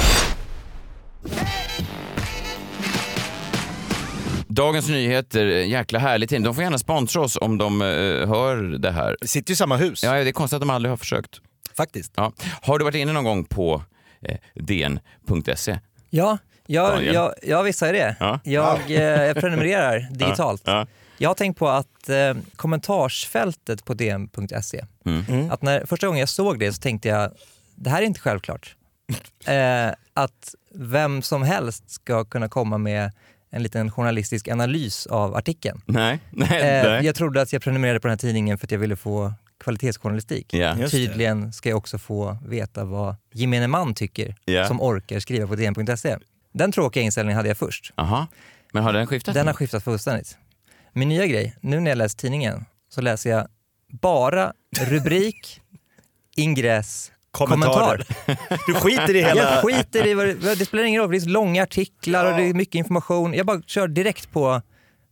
S4: Dagens Nyheter, en jäkla härlig tidning. De får gärna sponsra oss om de eh, hör det här.
S5: Vi sitter ju i samma hus,
S4: Ja, det är konstigt att de aldrig har försökt.
S5: faktiskt.
S4: Ja. Har du varit inne någon gång på eh, dn.se?
S6: Ja, jag,
S4: Daniel.
S6: jag, jag visst har jag det.
S4: Ja.
S6: Jag, eh, jag prenumererar digitalt.
S4: (laughs) Ja.
S6: Jag har tänkt på att eh, kommentarsfältet på dn.se,
S4: Mm.
S6: att när, första gången jag såg det så tänkte jag, det här är
S4: (laughs)
S6: inte självklart. Eh, att vem som helst ska kunna komma med en liten journalistisk analys av artikeln.
S4: Nej. (laughs) Nej,
S6: Eh,
S4: nej.
S6: jag trodde att jag prenumererade på den här tidningen för att jag ville få kvalitetsjournalistik.
S4: Ja. Just
S6: Tydligen ska jag också få veta vad gemene man tycker
S4: Ja.
S6: som orkar skriva på DN.se. Den tråkiga inställningen hade jag först.
S4: Aha. Men har den skiftat?
S6: Den har skiftat fullständigt. Min nya grej, nu när jag läser tidningen, så läser jag bara rubrik, ingress, kommentar.
S5: Kommentarer. Du skiter i hela...
S6: Jag skiter i vad det, det spelar ingen roll, för det är så långa artiklar och det är mycket information. Jag bara kör direkt på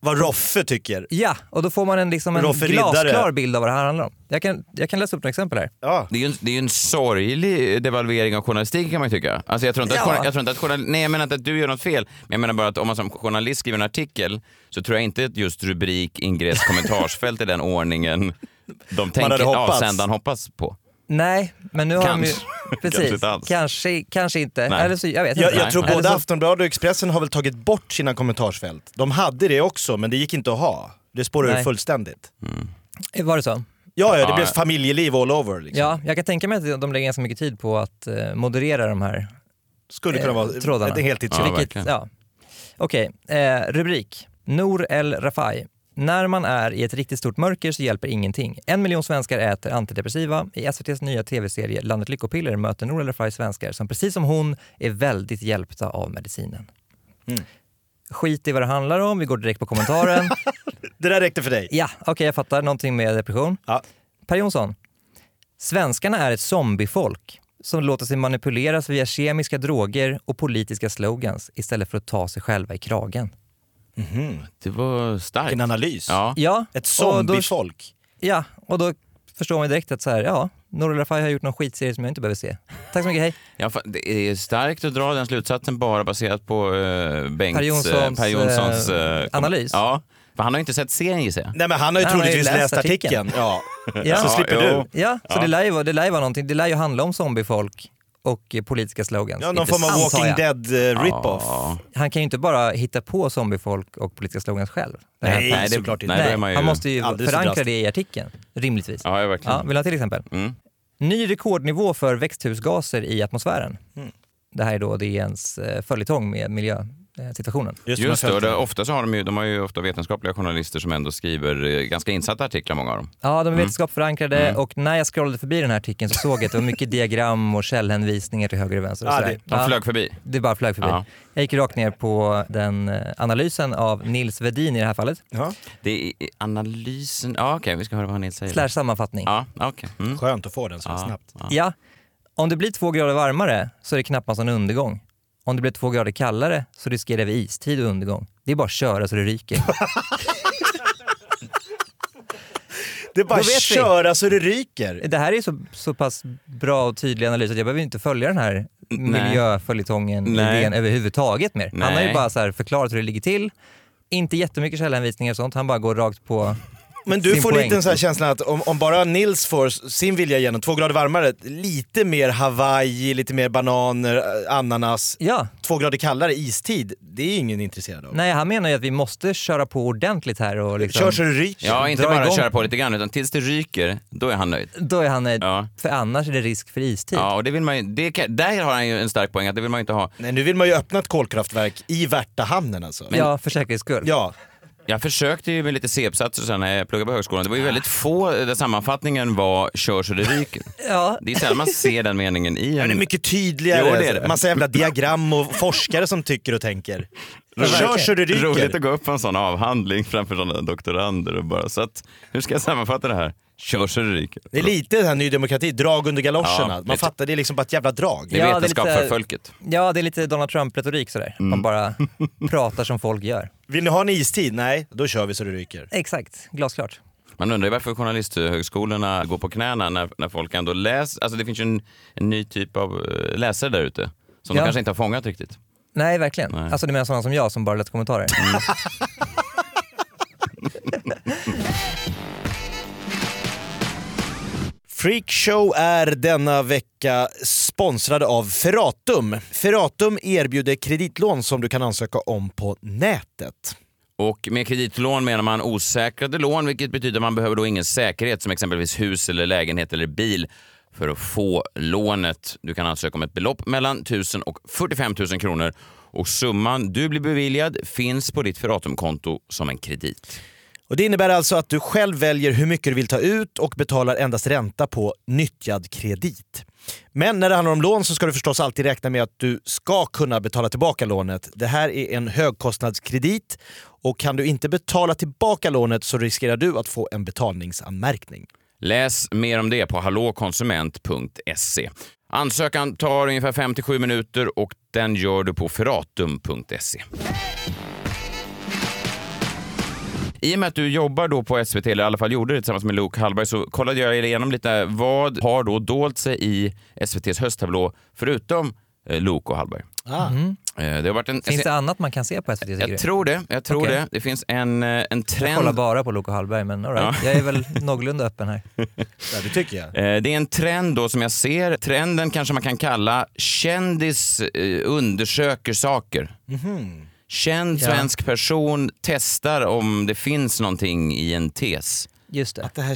S5: vad Roffe tycker.
S6: Ja, och då får man en, liksom en
S5: Roffe
S6: glasklar
S5: Riddare.
S6: bild av vad det här handlar om. Jag kan, jag kan läsa upp några exempel här.
S4: Det är, ju en, det är ju en sorglig devalvering av journalistiken kan man ju tycka. Alltså jag tror inte att,
S6: Ja.
S4: journal- jag tror inte att journal, nej jag menar inte att du gör något fel, men jag menar bara att om man som journalist skriver en artikel så tror jag inte att just rubrik, ingress, kommentarsfält är den ordningen de tänker
S5: hoppats.
S4: avsändaren hoppas på.
S6: Nej, men nu har (laughs)
S4: Kanske.
S6: de ju... Precis,
S4: Kanske inte alls.
S6: kanske, kanske inte.
S4: Nej.
S6: Eller så, jag vet
S5: Jag,
S6: inte.
S5: jag tror
S6: Eller
S5: både
S6: så-
S5: Aftonbladet och Expressen har väl tagit bort sina kommentarsfält. De hade det också, men det gick inte att ha. Det spårade
S6: Nej.
S5: ur fullständigt.
S6: Var det så?
S5: Ja, ja, det
S4: Ja,
S5: blev
S4: ja.
S5: familjeliv all over. Liksom.
S6: Ja, jag kan tänka mig att de lägger ganska mycket tid på att eh, moderera de här.
S5: Skulle
S6: Eh,
S5: kunna vara
S6: trådarna.
S5: ett heltidsjobb.
S4: Ja, verkligen.
S6: ja. Okej, eh, rubrik. Nour El Rafai. När man är i ett riktigt stort mörker så hjälper ingenting. En miljon svenskar äter antidepressiva. I SVTs nya tv-serie Landet Lyckopiller möter Nour El Rafai svenskar som precis som hon är väldigt hjälpta av medicinen.
S4: Mm.
S6: Skit i vad det handlar om, vi går direkt
S4: (laughs)
S6: på kommentaren.
S5: Det där räckte för dig.
S6: Ja, okej jag fattar. Någonting med depression.
S5: Ja.
S6: Per Jonsson. Svenskarna är ett zombiefolk som låter sig manipuleras via kemiska droger och politiska slogans istället för att ta sig själva i kragen.
S4: Det var starkt.
S5: Vilken analys.
S4: Ja.
S6: Ja,
S5: Ett
S6: och då,
S5: zombiefolk.
S6: ja, och då förstår man ju direkt att så här, ja, Nour El Refai har gjort någon skitserie som jag inte behöver se. Tack så
S5: (laughs)
S6: mycket, hej.
S4: Ja, fa- det är starkt att dra den slutsatsen bara baserat på eh, Bengts,
S6: Per Jonssons,
S4: eh, per Jonssons
S6: eh,
S4: eh,
S6: analys.
S4: Ja, för han har ju inte sett serien gissar jag.
S5: Nej men han har ju
S6: Nej, han har ju
S5: troligtvis
S6: läst
S5: läst artikeln. (laughs) Ja.
S6: Ja.
S5: Så slipper
S4: jo.
S5: du.
S6: Ja, så Det, lär ju, vara- det lär ju vara någonting. Det lär ju handla om zombiefolk och eh, politiska slogans.
S5: Ja, någon
S6: Inte
S5: form av
S6: sant, sa
S5: Walking
S6: jag.
S5: Dead eh, rip-off.
S6: Han kan ju inte bara hitta på zombiefolk och politiska slogans själv. Det här-
S5: Nej,
S4: det,
S5: såklart inte.
S4: Nej, då är man ju...
S6: han måste ju
S5: alldeles
S6: förankra
S5: drastisk.
S6: det i artikeln, rimligtvis.
S4: Ja, ja, verkligen.
S6: vill du ha till exempel?
S4: Mm.
S6: Ny rekordnivå för växthusgaser i atmosfären.
S4: Mm.
S6: Det här är då DNs eh, följetong med miljösituationen.
S5: Just,
S4: Just det,
S5: det,
S4: och det, ofta så har de ju, de har ju ofta vetenskapliga journalister som ändå skriver eh, ganska insatta artiklar, många av dem.
S6: Ja, de är vetenskapsförankrade
S4: Mm.
S6: och när jag scrollade förbi den här artikeln så såg jag att det var mycket diagram och källhänvisningar till höger och vänster. Och
S5: Ja,
S6: sådär.
S5: det-
S4: De flög förbi.
S6: Det bara flög förbi.
S4: Ja.
S6: Jag gick rakt ner på den eh, analysen av Nils Vedin i det här fallet.
S5: ja.
S4: Det är analysen, ja okej, vi ska höra vad Nils säger.
S6: Slash sammanfattning.
S4: Ja, okej. Mm.
S5: Skönt att få den så snabbt.
S6: Ja, om det blir två grader varmare så är det knappast någon undergång. Om det blir två grader kallare så riskerar vi istid och undergång. Det är bara att köra så det ryker.
S5: Det är bara
S6: Då vet vi.
S5: att köra så det ryker.
S6: det här är så, så pass bra och tydlig analys att jag behöver inte följa den här miljöföljetongen
S4: Nej.
S6: idén överhuvudtaget mer. Han har ju
S4: Nej.
S6: bara så här förklarat hur det ligger till. Inte jättemycket källhänvisningar och sånt, han bara går rakt på...
S5: Men du
S6: Sin
S5: får
S6: poäng.
S5: lite en sån här känsla att om, om bara Nils får s- sin vilja igenom, två grader varmare, lite mer Hawaii, lite mer bananer, eh, ananas,
S6: Ja,
S5: två grader kallare, istid, det är ingen intresserad av.
S6: nej han menar ju att vi måste köra på ordentligt här och liksom...
S5: Kör så det ryker.
S4: Ja, inte
S6: Dra
S4: bara
S6: igång.
S4: köra på lite grann, utan tills det ryker, då är han nöjd.
S6: Då är han nöjd,
S4: Ja.
S6: för annars är det risk för istid.
S4: Ja, och det vill man ju, det, kan- där har han ju en stark poäng, att det vill man ju inte ha.
S5: Nej, nu vill man ju öppna ett kolkraftverk i Värtahamnen alltså.
S6: Ja, för säkerhets skull.
S5: Ja,
S4: Jag försökte ju med lite C-uppsatser sen när jag pluggade på högskolan. Det var ju väldigt få där sammanfattningen var “kör så det ryker”.
S6: Ja.
S4: Det är sällan man ser den meningen i
S5: men det är
S4: en...
S5: mycket tydligare.
S4: Jo, det är det.
S5: Massa jävla diagram och forskare som tycker och tänker. Kör så det ryker.
S4: Roligt att gå upp på en sån avhandling framför sådana doktorander och bara så att, hur ska jag sammanfatta det här? Kör så det ryker.
S5: Det är lite den här Ny Demokrati, drag under galoscherna.
S4: Ja,
S5: Man
S4: lite.
S5: fattar, det är liksom bara ett jävla drag.
S4: Det är
S6: Ja, det är
S4: vetenskap
S6: lite-
S4: för folket.
S6: Ja, det är lite Donald Trump-retorik sådär.
S5: Mm. (laughs)
S6: Man bara pratar som folk gör.
S5: Vill ni ha en istid? Nej, då kör vi så det ryker.
S6: Exakt, glasklart.
S4: Man undrar ju varför journalisthögskolorna går på knäna när, när folk ändå läser. Alltså det finns ju en, en ny typ av eh, läsare där ute som
S6: Ja.
S4: de kanske inte har fångat riktigt.
S5: Mm.
S6: Nej, verkligen. Alltså du menar sådana som jag som bara lät kommentarer?
S5: Freakshow är denna vecka sponsrade av Ferratum. Ferratum erbjuder kreditlån som du kan ansöka om på nätet.
S4: Och med kreditlån menar man osäkrade lån, vilket betyder att man behöver då ingen säkerhet som exempelvis hus eller lägenhet eller bil för att få lånet. Du kan ansöka om ett belopp mellan 1000 och 45 000 kronor och summan du blir beviljad finns på ditt Ferratum-konto som en kredit.
S5: Och det innebär alltså att du själv väljer hur mycket du vill ta ut och betalar endast ränta på nyttjad kredit. Men när det handlar om lån så ska du förstås alltid räkna med att du ska kunna betala tillbaka lånet. Det här är en högkostnadskredit och kan du inte betala tillbaka lånet så riskerar du att få en betalningsanmärkning.
S4: Läs mer om det på hallåkonsument.se. Ansökan tar ungefär 5-7 minuter och den gör du på ferratum.se. I och med att du jobbar då på SVT, eller i alla fall gjorde det tillsammans med Luke Hallberg, så kollade jag igenom lite vad har då dolt sig i SVTs hösttablå förutom eh, Luke och Hallberg.
S5: Ah, Mhm.
S4: Eh, Det har varit en...
S5: Alltså,
S6: Finns det annat man kan se på SVT?
S4: jag tror det. Jag tror
S6: Okej.
S4: det. Det finns en, eh, en
S6: jag kollar
S4: trend
S6: bara på Loke Hallberg, men all right. jag är väl någorlunda
S5: (laughs)
S6: öppen här.
S5: Ja, det tycker jag.
S4: Eh, Det är en trend då som jag ser. Trenden kanske man kan kalla kändis eh, undersöker saker. Känd
S6: Ja.
S4: svensk person testar om det finns någonting i en tes.
S6: Just det.
S5: Det här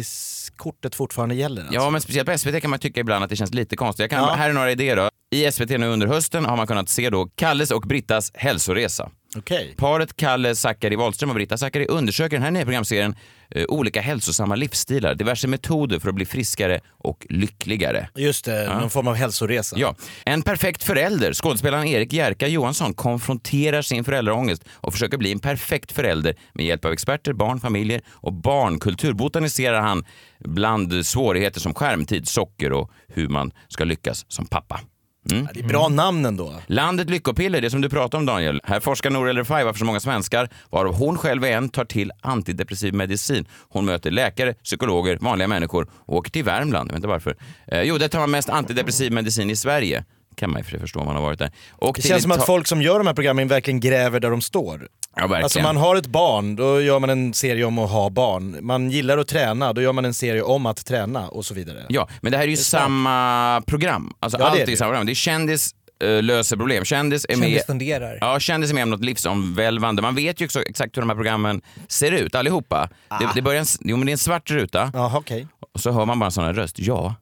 S5: kändiskortet fortfarande gäller alltså.
S4: Ja, men speciellt på SVT kan man tycka ibland att det känns lite konstigt. Jag kan,
S5: Ja.
S4: Här är några idéer då. I SVT nu under hösten har man kunnat se då Kalles och Brittas hälsoresa.
S5: Okej.
S4: Paret Kalle Zackari Wahlström och Britta Zackari undersöker i den här nya programserien eh, olika hälsosamma livsstilar, diverse metoder för att bli friskare och lyckligare.
S5: Just det, någon form av hälsoresa.
S4: Ja. En perfekt förälder. Skådespelaren Erik Jerka Johansson konfronterar sin föräldraångest och försöker bli en perfekt förälder med hjälp av experter, barn, familjer och barnkultur. Botaniserar han bland svårigheter som skärmtid, socker och hur man ska lyckas som pappa.
S5: Ja, Det är bra namn ändå.
S4: Landet Lyckopiller, det som du pratade om Daniel. Här forskar Nour El Refai varför så många svenskar, varav hon själv är en, tar till antidepressiv medicin. Hon möter läkare, psykologer, vanliga människor och åker till Värmland. Jag vet inte varför. Eh, jo, där tar man mest antidepressiv medicin i Sverige. kan man ju för sig förstå om man har varit där. Och
S5: Det
S4: till
S5: känns som
S4: Ita-
S5: att folk som gör de här programmen verkligen gräver där de står.
S4: Ja, verkligen.
S5: Alltså man har ett barn, då gör man en serie om att ha barn. Man gillar att träna, då gör man en serie om att träna och så vidare.
S4: Ja, men det här är ju samma program. Alltså
S5: Ja, det
S4: allt
S5: är
S4: är
S5: det
S4: ju
S5: ju.
S4: samma program. Det är kändis eh, löser problem. Kändis är med...
S6: Kändis funderar.
S4: Ja, kändis är med om något livsomvälvande. Man vet ju också exakt hur de här programmen ser ut allihopa.
S6: Ah.
S4: Det, det, börjar en, s- jo, men det är en svart ruta.
S5: Jaha, okej.
S4: Och så hör man bara en sån här röst. Ja,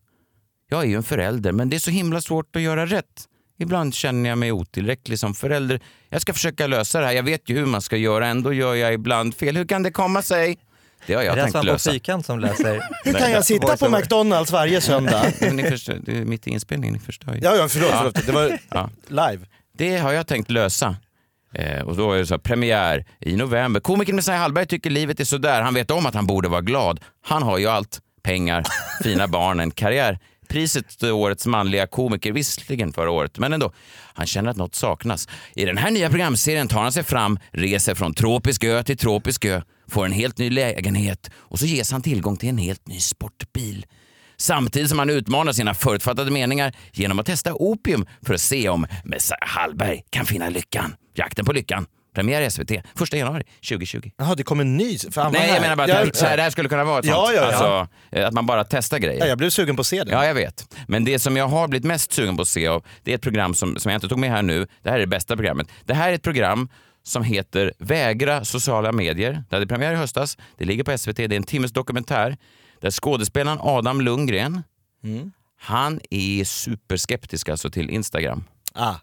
S4: jag är ju en förälder, men det är så himla svårt att göra rätt. Ibland känner jag mig otillräcklig som förälder. Jag ska försöka lösa det här. Jag vet ju hur man ska göra. Ändå gör jag ibland fel. Hur kan det komma sig? Det har jag
S6: är det alltså
S4: tänkt
S6: han på
S4: lösa.
S6: fyrkant som läser?
S5: (laughs) Hur kan jag sitta på
S6: Voiceover.
S5: McDonalds
S4: (laughs)
S5: varje söndag?
S4: Men ni förstör, det är mitt i inspelningen, ni förstör ju.
S5: Ja, ja, förlåt, förlåt. Det var
S4: Ja.
S5: live.
S4: Det har jag tänkt lösa. Eh, och då är det så här, premiär i november. Komikern Messiah Hallberg tycker livet är sådär. Han vet om att han borde vara glad. Han har ju allt. Pengar, fina barn, en karriär. Priset till årets manliga komiker, visserligen förra året, men ändå. Han känner att något saknas. I den här nya programserien tar han sig fram, reser från tropisk ö till tropisk ö, får en helt ny lägenhet och så ges han tillgång till en helt ny sportbil samtidigt som han utmanar sina förutfattade meningar genom att testa opium för att se om Messiah Hallberg kan finna lyckan. Jakten på lyckan. Premiär i SVT 1 januari 2020.
S5: Jaha, det kom en ny. Fan,
S4: Nej, jag menar bara att det här, det här skulle kunna vara ett
S5: Ja,
S4: sånt.
S5: ja, ja.
S4: Alltså, eh, att man bara testar
S5: Ja,
S4: grejer.
S5: jag blev sugen på att se det.
S4: Ja, jag vet. Men det som jag har blivit mest sugen på att se av, det är ett program som, som jag inte tog med här nu. Det här är det bästa programmet. Det här är ett program som heter Vägra sociala medier. Det hade premiär i höstas. Det ligger på SVT. Det är en timmes dokumentär där skådespelaren Adam Lundgren, han är superskeptisk alltså till Instagram.
S5: Ah,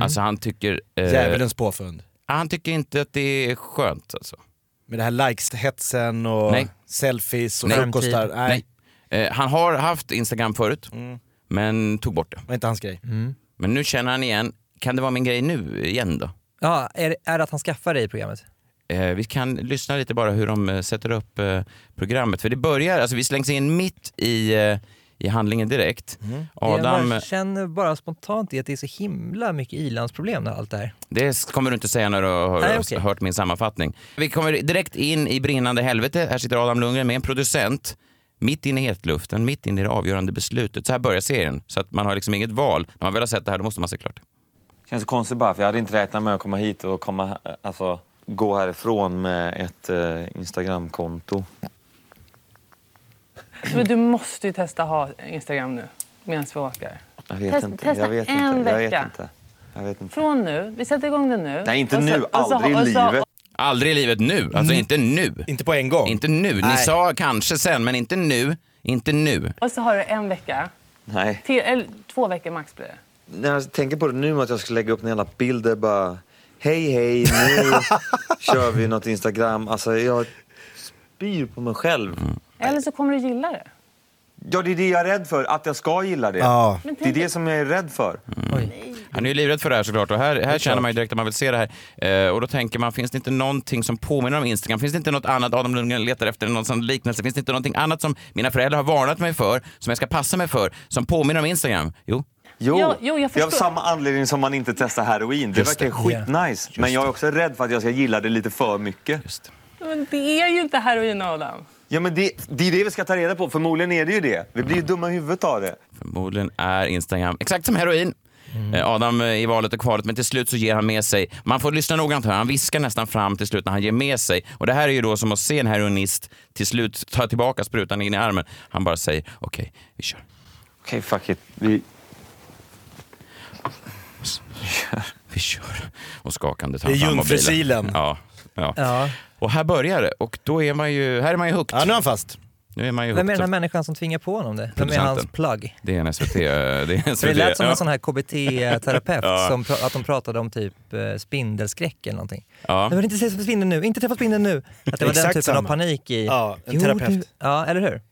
S4: Alltså han tycker, eh,
S5: djävulens påfund.
S4: han tycker inte att det är skönt. Alltså.
S5: Med det här likes-hetsen och
S4: Nej.
S5: selfies och
S4: Nej.
S5: frukostar. Nej.
S4: Nej. Eh, han har haft Instagram förut, men tog bort det.
S5: det var inte hans grej.
S4: Men nu känner han igen, kan det vara min grej nu igen då?
S6: Ja, är, är det att han skaffar det i programmet?
S4: Eh, vi kan lyssna lite bara hur de eh, sätter upp eh, programmet. För det börjar, alltså vi slängs in mitt i, eh, i handlingen direkt.
S6: jag
S4: Adam,
S6: bara känner bara spontant i att det är så himla mycket ilandsproblem med allt det här.
S4: det kommer du inte säga när du har
S6: Nej,
S4: har
S6: okej.
S4: hört min sammanfattning. Vi kommer direkt in i brinnande helvete. Här sitter Adam Lundgren med en producent. Mitt inne i hetluften, mitt inne i det avgörande beslutet. Så här börjar serien. Så att man har liksom inget val. När man väl har sett det här då måste man se klart.
S7: Känns konstigt bara för jag hade inte räknat med att komma hit och komma, alltså, gå härifrån med ett eh, Instagramkonto.
S9: Men du måste ju testa ha Instagram nu, medan vi åker.
S7: Jag vet
S9: Test-
S7: inte.
S9: testa
S7: jag vet
S9: en
S7: inte. Jag vet
S9: vecka.
S7: inte. Jag vet inte.
S9: Från nu. Vi sätter igång den nu.
S7: Nej, inte
S9: Och så-
S7: nu.
S9: och så-
S7: Aldrig i
S9: och så-
S7: livet.
S4: Aldrig i livet nu. Alltså inte nu.
S5: Inte på en gång.
S4: Inte nu. Ni
S9: Nej.
S4: sa kanske sen, men inte nu. Inte nu.
S9: Och så har du en vecka.
S7: Nej.
S9: Till, eller två veckor max blir det.
S7: När jag tänker på det nu, att jag ska lägga upp en jävla bild där bara Hej hej, (laughs) nu kör vi något Instagram. Alltså jag spyr på mig själv.
S9: Eller så kommer du gilla det.
S7: Ja, det är det jag är rädd för. Att jag ska gilla det.
S5: Ja.
S7: Det är det som jag är rädd för.
S4: Han är ju livrädd för det här såklart och här, här känner man ju direkt att man vill se det här. Eh, och då tänker man, finns det inte någonting som påminner om Instagram? Finns det inte något annat, Adam Lundgren letar efter någon sån liknelse, finns det inte någonting annat som mina föräldrar har varnat mig för, som jag ska passa mig för, som påminner om Instagram? Jo,
S7: Jo,
S9: Jo, jo, jag
S7: det är av
S9: förstår.
S7: samma anledning som man inte testar heroin. Det
S4: Just
S7: verkar skitnice. Men jag är också rädd för att jag ska gilla det lite för mycket.
S9: Men det är ju inte heroin, Adam.
S7: Ja, men det, det är det vi ska ta reda på. Förmodligen är det ju det. Vi blir ju dumma i huvudet av det.
S4: förmodligen är Instagram exakt som heroin. Eh, Adam eh, i valet och kvalet, men till slut så ger han med sig. Man får lyssna noggrant här. Han viskar nästan fram till slut när han ger med sig. Och det här är ju då som att se en heroinist till slut ta tillbaka sprutan in i armen. Han bara säger okej, vi kör.
S7: Okej, fuck it. Vi...
S4: Vi kör. Och skakande tar
S5: Det är
S4: han fram
S5: jungfrusilen.
S4: mobilen. Ja, ja.
S6: Ja.
S4: Och här börjar det. Och då är man ju, här är man ju hooked.
S5: Ja, nu är han fast.
S4: Nu är man ju
S6: Vem är den här
S4: hooked.
S6: människan som tvingar på honom det? Vem är
S4: Producenten.
S6: hans plug?
S4: Det är en SVT. eh, Det är en SVT.
S6: För det lät som
S4: ja.
S6: en sån här KBT-terapeut,
S4: Ja.
S6: som pra- att de pratade om typ eh, spindelskräck eller någonting.
S4: Ja.
S6: Jag vill inte se spindeln nu, inte träffa spindeln nu. Att det var den
S5: Exakt
S6: typen av
S5: samma.
S6: panik i...
S5: Ja, en
S6: Jo,
S5: terapeut.
S6: du- Ja, eller hur?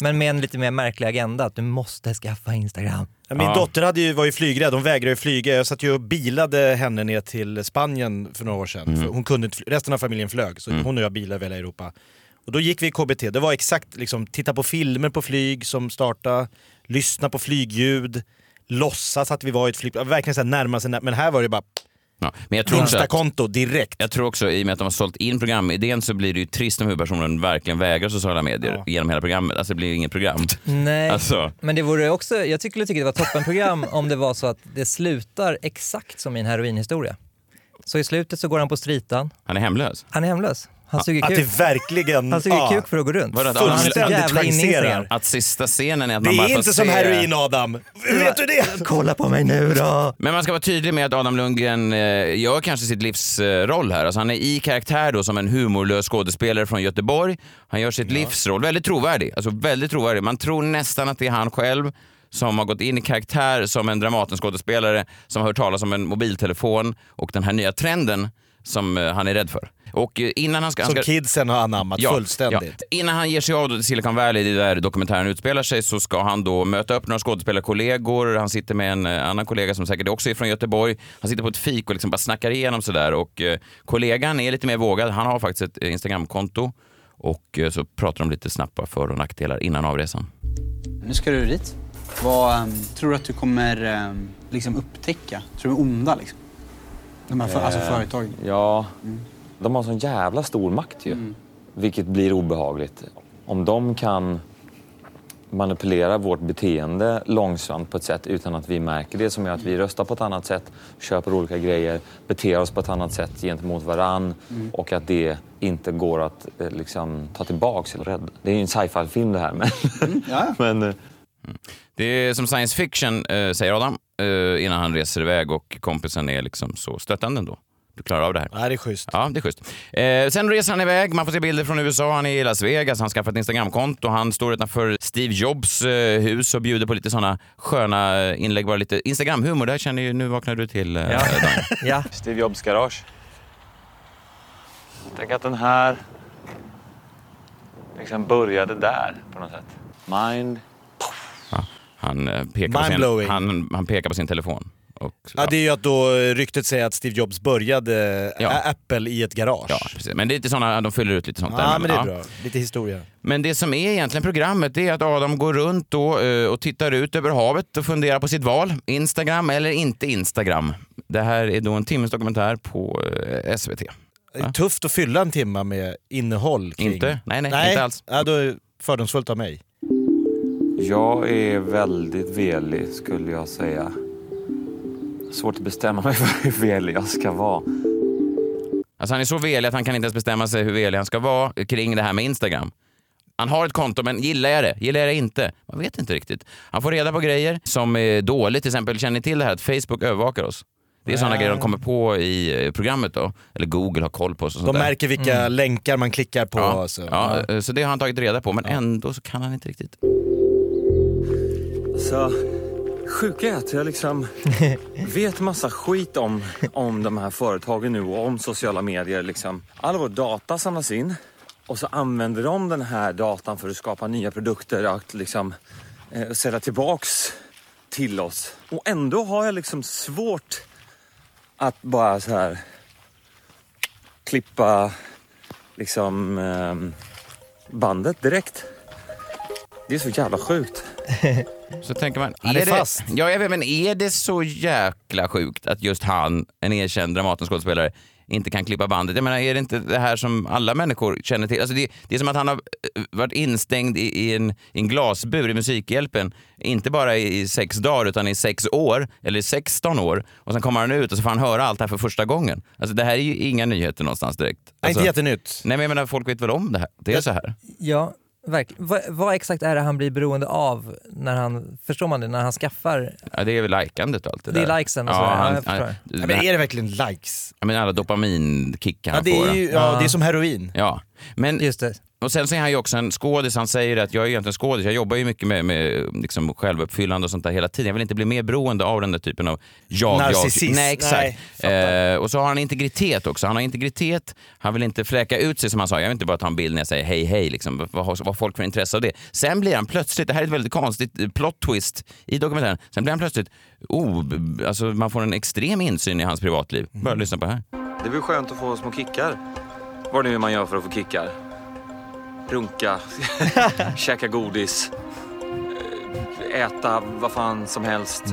S6: Men med en lite mer märklig agenda, att du måste skaffa Instagram.
S5: Ja, Min
S4: Ja.
S5: dotter hade ju, var ju flygrädd, hon vägrade ju flyga. Jag satt ju och bilade henne ner till Spanien för några år sedan. För hon kunde inte fly- resten av familjen flög, så hon och jag bilade över hela Europa. Och då gick vi i KBT, det var exakt liksom, titta på filmer på flyg som starta, lyssna på flygljud, låtsas att vi var i ett flygplan. Verkligen så här närma sig, när- men här var det bara
S4: Ja. Men jag tror också att
S5: Insta-konto direkt.
S4: Jag tror också i och med att de har sålt in programidén så blir det ju trist om huvudpersonen verkligen vägrar sociala medier
S5: Ja. Mm.
S4: genom hela programmet. Alltså det blir ju inget program.
S6: Nej,
S4: Alltså.
S6: men det vore också, jag skulle tycka det var ett toppenprogram om det var så att det slutar exakt som i en heroinhistoria. Så i slutet så går han på stritan,
S4: Han är hemlös.
S6: han är Alltså, hemlös, han suger
S5: Att det Ah.
S6: kuk.
S5: verkligen...
S6: Han suger
S5: ja.
S6: kuk för att gå runt.
S4: Vadå, att
S6: Han är så
S5: fullständigt
S6: jävla inne i
S5: chanserar?
S6: Instagram.
S4: Att sista scenen är att
S5: Det
S4: man bara
S5: är
S4: får
S5: inte som
S4: se-
S5: heroin Adam! Vet du det?
S6: Kolla på mig nu då!
S4: Men man ska vara tydlig med att Adam Lundgren eh, gör kanske sitt livs eh, roll här. Alltså han är i karaktär då som en humorlös skådespelare från Göteborg. Han gör sitt livs roll. Väldigt trovärdig. Alltså väldigt trovärdig. Man tror nästan att det är han själv som har gått in i karaktär som en Dramatenskådespelare som har hört talas om en mobiltelefon och den här nya trenden som eh, han är rädd för. Och eh, innan han ska... han ska...
S5: Som kidsen har anammat fullständigt.
S4: ja. Innan han ger sig av då till Silicon Valley, det är där dokumentären utspelar sig, så ska han då möta upp några skådespelarkollegor. Han sitter med en eh, annan kollega som säkert också är från Göteborg. Han sitter på ett fik och liksom bara snackar igenom sådär. Och eh, kollegan är lite mer vågad. Han har faktiskt ett eh, Instagramkonto. Och eh, så pratar de lite snabbt bara för och nackdelar innan avresan.
S10: Nu ska du dit. Vad ehm, tror du att du kommer ehm, liksom upptäcka? Tror du är onda liksom? De här för, alltså
S7: Eh,
S10: företagen.
S7: Ja, de har sån jävla stor makt ju. Vilket blir obehagligt. Om de kan manipulera vårt beteende långsamt på ett sätt utan att vi märker det som gör att vi röstar på ett annat sätt, köper olika grejer, beter oss på ett annat sätt gentemot varann och att det inte går att eh, liksom, ta tillbaks eller rädda. Det är ju en sci-fi-film det här men... (laughs) men eh,
S4: Det är som science fiction, eh, säger Adam, eh, innan han reser iväg och kompisen är liksom så stöttande ändå. Du klarar av det här.
S5: Ja, det är schysst.
S4: Ja, det är schysst. Eh, sen reser han iväg, man får se bilder från USA, han är i Las Vegas, han skaffar ett Instagramkonto, han står utanför Steve Jobs eh, hus och bjuder på lite sådana sköna eh, inlägg, bara lite Instagramhumor. Det här känner ju, nu vaknar du till eh,
S6: Ja.
S4: Daniel.
S6: Ja,
S7: Steve Jobs garage. Tänk att den här liksom började där på något sätt. Mind.
S4: Han, eh, pekar på sin,
S5: Mindblowing.
S4: han, han pekar på sin telefon. Och,
S5: Ja. det är ju att då eh, ryktet säger att Steve Jobs började eh,
S4: Ja.
S5: Apple i ett garage.
S4: ja, precis. Men det är lite sådana, de fyller ut lite sånt
S5: Ja,
S4: där.
S5: men det är
S4: Ja.
S5: bra. Lite historia.
S4: Men det som är egentligen programmet det är att Adam går runt då, eh, och tittar ut över havet och funderar på sitt val. Instagram eller inte Instagram. Det här är då en timmes dokumentär på eh, SVT.
S5: Det är tufft att fylla en timma med innehåll kring...
S4: Inte? Nej, nej,
S5: nej.
S4: inte alls.
S5: Ja, då är det fördomsfullt av mig.
S7: Jag är väldigt velig skulle jag säga. Svårt att bestämma mig för hur velig jag ska vara.
S4: Alltså han är så velig att han kan inte ens bestämma sig hur velig han ska vara kring det här med Instagram. Han har ett konto, men gillar jag det? Gillar jag det inte? Man vet inte riktigt. Han får reda på grejer som är dåligt. Till exempel, känner ni till det här att Facebook övervakar oss? Det är sådana
S5: Nej.
S4: grejer de kommer på i eh, programmet då. Eller Google har koll på oss och sånt
S5: De
S4: där.
S5: märker vilka länkar man klickar på.
S4: Ja,
S5: Så.
S4: ja, eh, så det har han tagit reda på, men ändå så kan han inte riktigt.
S3: Alltså, sjuka är att jag liksom vet massa skit om, om de här företagen nu och om sociala medier. Liksom. All vår data samlas in och så använder de den här datan för att skapa nya produkter att liksom, eh, sälja tillbaks till oss. Och ändå har jag liksom svårt att bara så här klippa liksom ehm, bandet direkt. Det är så jävla sjukt.
S4: Så tänker man,
S3: Han är fast.
S4: Ja, jag vet, men är det så jäkla sjukt att just han, en erkänd Dramatenskådespelare, inte kan klippa bandet? Jag menar, är det inte det här som alla människor känner till? Alltså det, det är som att han har eh, varit instängd i, i, en, i en glasbur i Musikhjälpen, inte bara i, i sex dagar utan i sex år, eller i 16 år. Och sen kommer han ut och så får han höra allt det här för första gången. Alltså det här är ju inga nyheter någonstans direkt.
S5: Nej,
S4: Alltså,
S5: inte jättenytt.
S4: Nej, men jag menar, folk vet väl om det här? Det är så här.
S6: Ja, verkligen. Va, vad exakt är det han blir beroende av när han, förstår man det, när han skaffar?
S4: Ja, det är väl likandet och allt det
S6: Det är
S4: där.
S6: likesen och så där. Ja, jag förstår. Ja, men är det verkligen likes?
S4: Ja, men alla dopaminkickar
S5: Ja,
S4: han
S5: det är
S4: får.
S5: ju- ja, Ja. det är som heroin.
S4: Ja. Men, Och sen så är han ju också en skådis. Han säger att jag är egentligen skådis. Jag jobbar ju mycket med, med liksom självuppfyllande och sånt där hela tiden. Jag vill inte bli mer beroende av den där typen av jag, jag.
S5: Narcissist.
S4: Nej, exakt.
S5: Nej,
S4: eh, och så har han integritet också. Han har integritet. Han vill inte fläka ut sig som han sa. Jag vill inte bara ta en bild när jag säger hej, hej. Liksom. Vad- Vad har vad har folk för intresse av det? Sen blir han plötsligt, det här är ett väldigt konstigt eh, plot twist i dokumentären. Sen blir han plötsligt, oh, b- b- alltså man får en extrem insyn i hans privatliv. Bara lyssna på det här.
S3: Det blir skönt att få små kickar. Vad nu man gör för att få kickar. Runka, (laughs) käka godis, eh, äta vad fan som helst.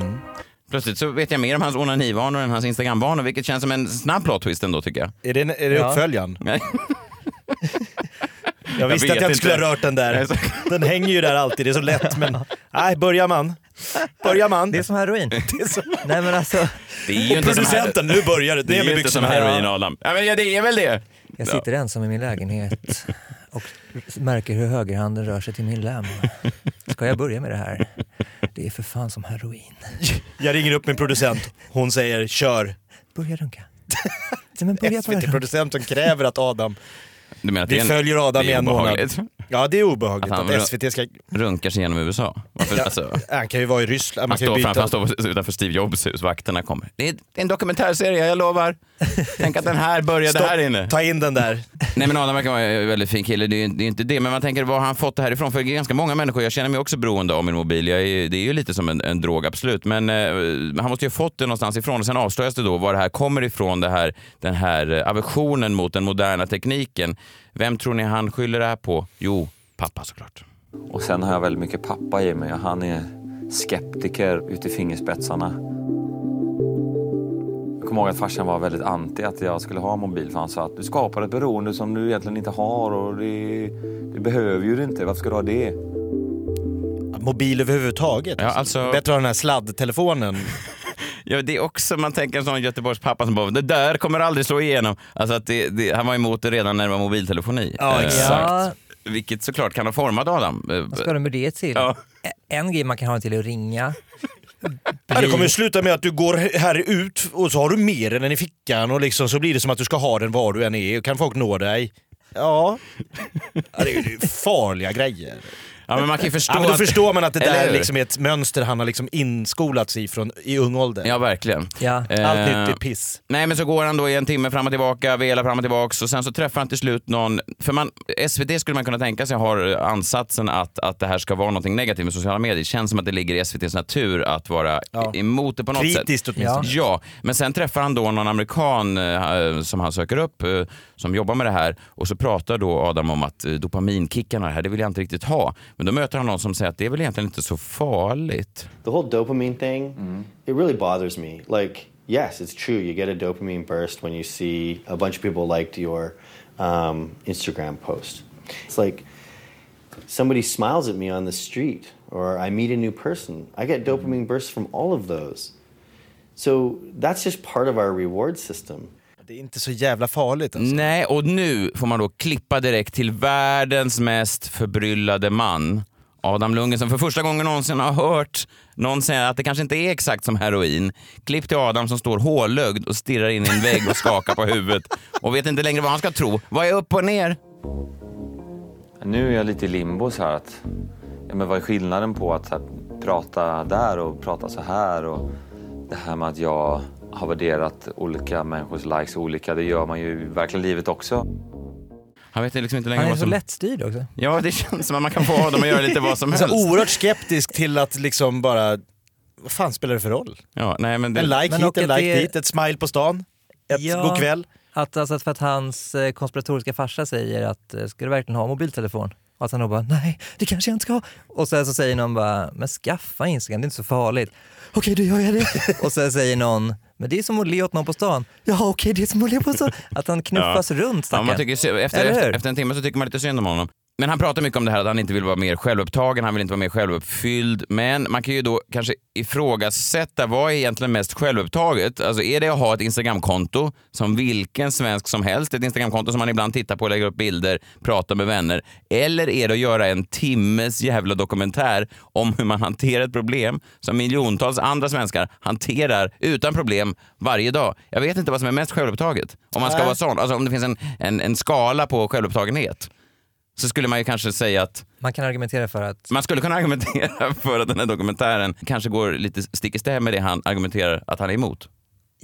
S4: Plötsligt så vet jag mer om hans onanivanor än hans instagramvanor, vilket känns som en snabb plot twist ändå tycker jag.
S5: Är det, är det
S4: Ja.
S5: uppföljaren?
S4: Nej.
S5: Jag visste
S4: vet
S5: att jag inte skulle
S4: inte.
S5: ha rört den där.
S4: (laughs)
S5: Den hänger ju där alltid, det är så lätt. Men nej, börjar man. Börjar man. (laughs) Det är
S6: som heroin. Nej men alltså.
S4: Det (laughs) är ju
S5: Och
S4: inte som
S5: producenten,
S4: här-
S5: nu börjar det.
S4: Det är
S5: Ner
S4: ju
S5: med
S4: inte som
S5: byxorna.
S4: heroin, Adam. Ja, men ja, det är väl det.
S6: Jag sitter ensam i min lägenhet och märker hur högerhanden rör sig till min lem. Ska jag börja med det här? Det är för fan som heroin.
S5: Jag ringer upp min producent, hon säger kör.
S6: Börja (laughs) runka. Nej, men börja bara runka.
S5: SVT-producenten kräver att Adam...
S4: Du menar att
S5: Vi
S4: det är en-
S5: följer Adam
S4: det är
S5: i en
S4: obehagligt?
S5: månad. Ja, det är obehagligt
S4: Att han
S5: att,
S4: rö-
S5: SVT ska...
S4: Runkar sig genom USA. Varför, alltså,
S5: Han kan ju vara i Ryssland, man
S4: han
S5: kan ju
S4: står
S5: byta...
S4: framför, han står utanför Steve Jobs hus, vakterna kommer. Det är det är en dokumentärserie, jag
S5: (laughs)
S4: lovar. Tänk att den här började
S5: Stopp,
S4: här inne.
S5: Ta in den där.
S4: Nej men Adam verkar vara en väldigt fin kille, det är, ju- det är inte det. Men man tänker, var har han fått det här ifrån? För ganska många människor, jag känner mig också beroende av min mobil. Jag är, det är ju lite som en, en drog, absolut. Men eh, han måste ju ha fått det någonstans ifrån. Och sen avslöjas det då var det här kommer ifrån, det här, den här eh, aversionen mot den moderna tekniken. Vem tror ni han skyller det här på? Jo, pappa såklart.
S3: Och sen har jag väldigt mycket pappa i mig och han är skeptiker ut i fingerspetsarna. Jag kommer ihåg att farsan var väldigt anti att jag skulle ha en mobil för han sa att du skapar ett beroende som du egentligen inte har och det, det behöver ju du inte. Varför ska du ha det?
S5: Mobil överhuvudtaget.
S4: Ja, alltså...
S5: Bättre att ha den här sladdtelefonen.
S4: Ja, det är också, man tänker en sån Göteborgs pappa som bara, det där kommer aldrig slå igenom. Alltså att det, det, han var emot det redan när det var mobiltelefoni.
S6: Ja,
S4: Eh,
S6: exakt. Ja.
S4: Vilket såklart kan ha format Adam. Eh,
S6: Vad ska du med det till?
S4: Ja.
S6: En grej man kan ha till är att ringa.
S5: Ja, det kommer ju sluta med att du går här ut och så har du med den i fickan och liksom så blir det som att du ska ha den var du än är och kan folk nå dig. Ja, ja det är ju farliga grejer.
S4: Ja, men man kan ju förstå
S5: ja, men då
S4: att-
S5: förstår man att det
S4: Eller
S5: där
S4: hur?
S5: liksom är ett mönster han har liksom inskolats i från, i ung ålder.
S4: Ja, verkligen. Eh,
S5: Allt nytt är piss.
S4: Nej, men så går han då i en timme fram och tillbaka, velar fram och tillbaka och sen så träffar han till slut någon. För man, SVT skulle man kunna tänka sig har eh, ansatsen att, att det här ska vara någonting negativt med sociala medier. Det känns som att det ligger i SVTs natur att vara e- emot det på något sätt.
S5: Kritiskt åtminstone.
S4: Ja, men sen träffar han då någon amerikan eh, som han söker upp eh, som jobbar med det här och så pratar då Adam om att eh, dopaminkickarna här, det vill jag inte riktigt ha. Men då möter han någon som säger att det är väl egentligen inte så farligt.
S11: The whole dopamine thing, it really bothers me. Like, yes, it's true. You get a dopamine burst when you see a bunch of people liked your um, Instagram post. It's like somebody smiles at me on the street or I meet a new person. I get dopamine bursts from all of those. So that's just part of our reward system.
S5: Det är inte så jävla farligt. Alltså.
S4: Nej, och nu får man då klippa direkt till världens mest förbryllade man. Adam Lundgren som för första gången någonsin har hört någon säga att det kanske inte är exakt som heroin. Klipp till Adam som står hålögd och stirrar in i en vägg och skakar på huvudet och vet inte längre vad han ska tro. Vad är upp och ner?
S7: Nu är jag lite i limbo så här att, ja, men vad är skillnaden på att så här, prata där och prata så här och det här med att jag har värderat olika människors likes olika, det gör man ju i verkliga livet också.
S4: Han vet liksom inte längre
S6: Han är
S4: vad
S6: så
S4: som...
S6: lättstyrd också.
S4: Ja, det känns som att man kan få Adam att göra lite vad som
S5: (laughs) Så
S4: helst.
S5: oerhört skeptisk till att liksom bara, vad fan spelar det för roll?
S4: Ja, nej, men det...
S5: En like
S6: Men
S5: hit,
S6: och
S5: en
S6: att
S5: like
S6: det-
S5: dit, ett smile på stan, ett god kväll.
S6: Att, alltså, att för att hans eh, konspiratoriska farsa säger att eh, ska du verkligen ha mobiltelefon? Och att han då bara nej, det kanske jag inte ska ha. Och sen så säger någon bara men skaffa Instagram, det är inte så farligt. Okej, då gör jag det. (laughs) och sen säger någon men det är som att le åt någon på stan. Ja, okej, det är som att le på stan. (laughs) Att han knuffas
S4: Ja.
S6: runt
S4: Ja,
S6: stackaren.
S4: man tycker, sy- efter,
S6: Eller
S4: efter,
S6: hur?
S4: efter en timme så tycker man lite synd om honom. Men han pratar mycket om det här att han inte vill vara mer självupptagen, han vill inte vara mer självuppfylld. Men man kan ju då kanske ifrågasätta vad är egentligen mest självupptaget? Alltså är det att ha ett Instagramkonto som vilken svensk som helst, ett Instagramkonto som man ibland tittar på, lägger upp bilder, pratar med vänner. Eller är det att göra en timmes jävla dokumentär om hur man hanterar ett problem som miljontals andra svenskar hanterar utan problem varje dag. Jag vet inte vad som är mest självupptaget. Om man ska
S5: Nej.
S4: vara sån, alltså om det finns en, en, en skala på självupptagenhet så skulle man ju kanske säga att
S6: Man kan argumentera för att
S4: man skulle kunna (laughs) argumentera för att den här dokumentären kanske går lite stick i stäv med det han argumenterar att han är emot.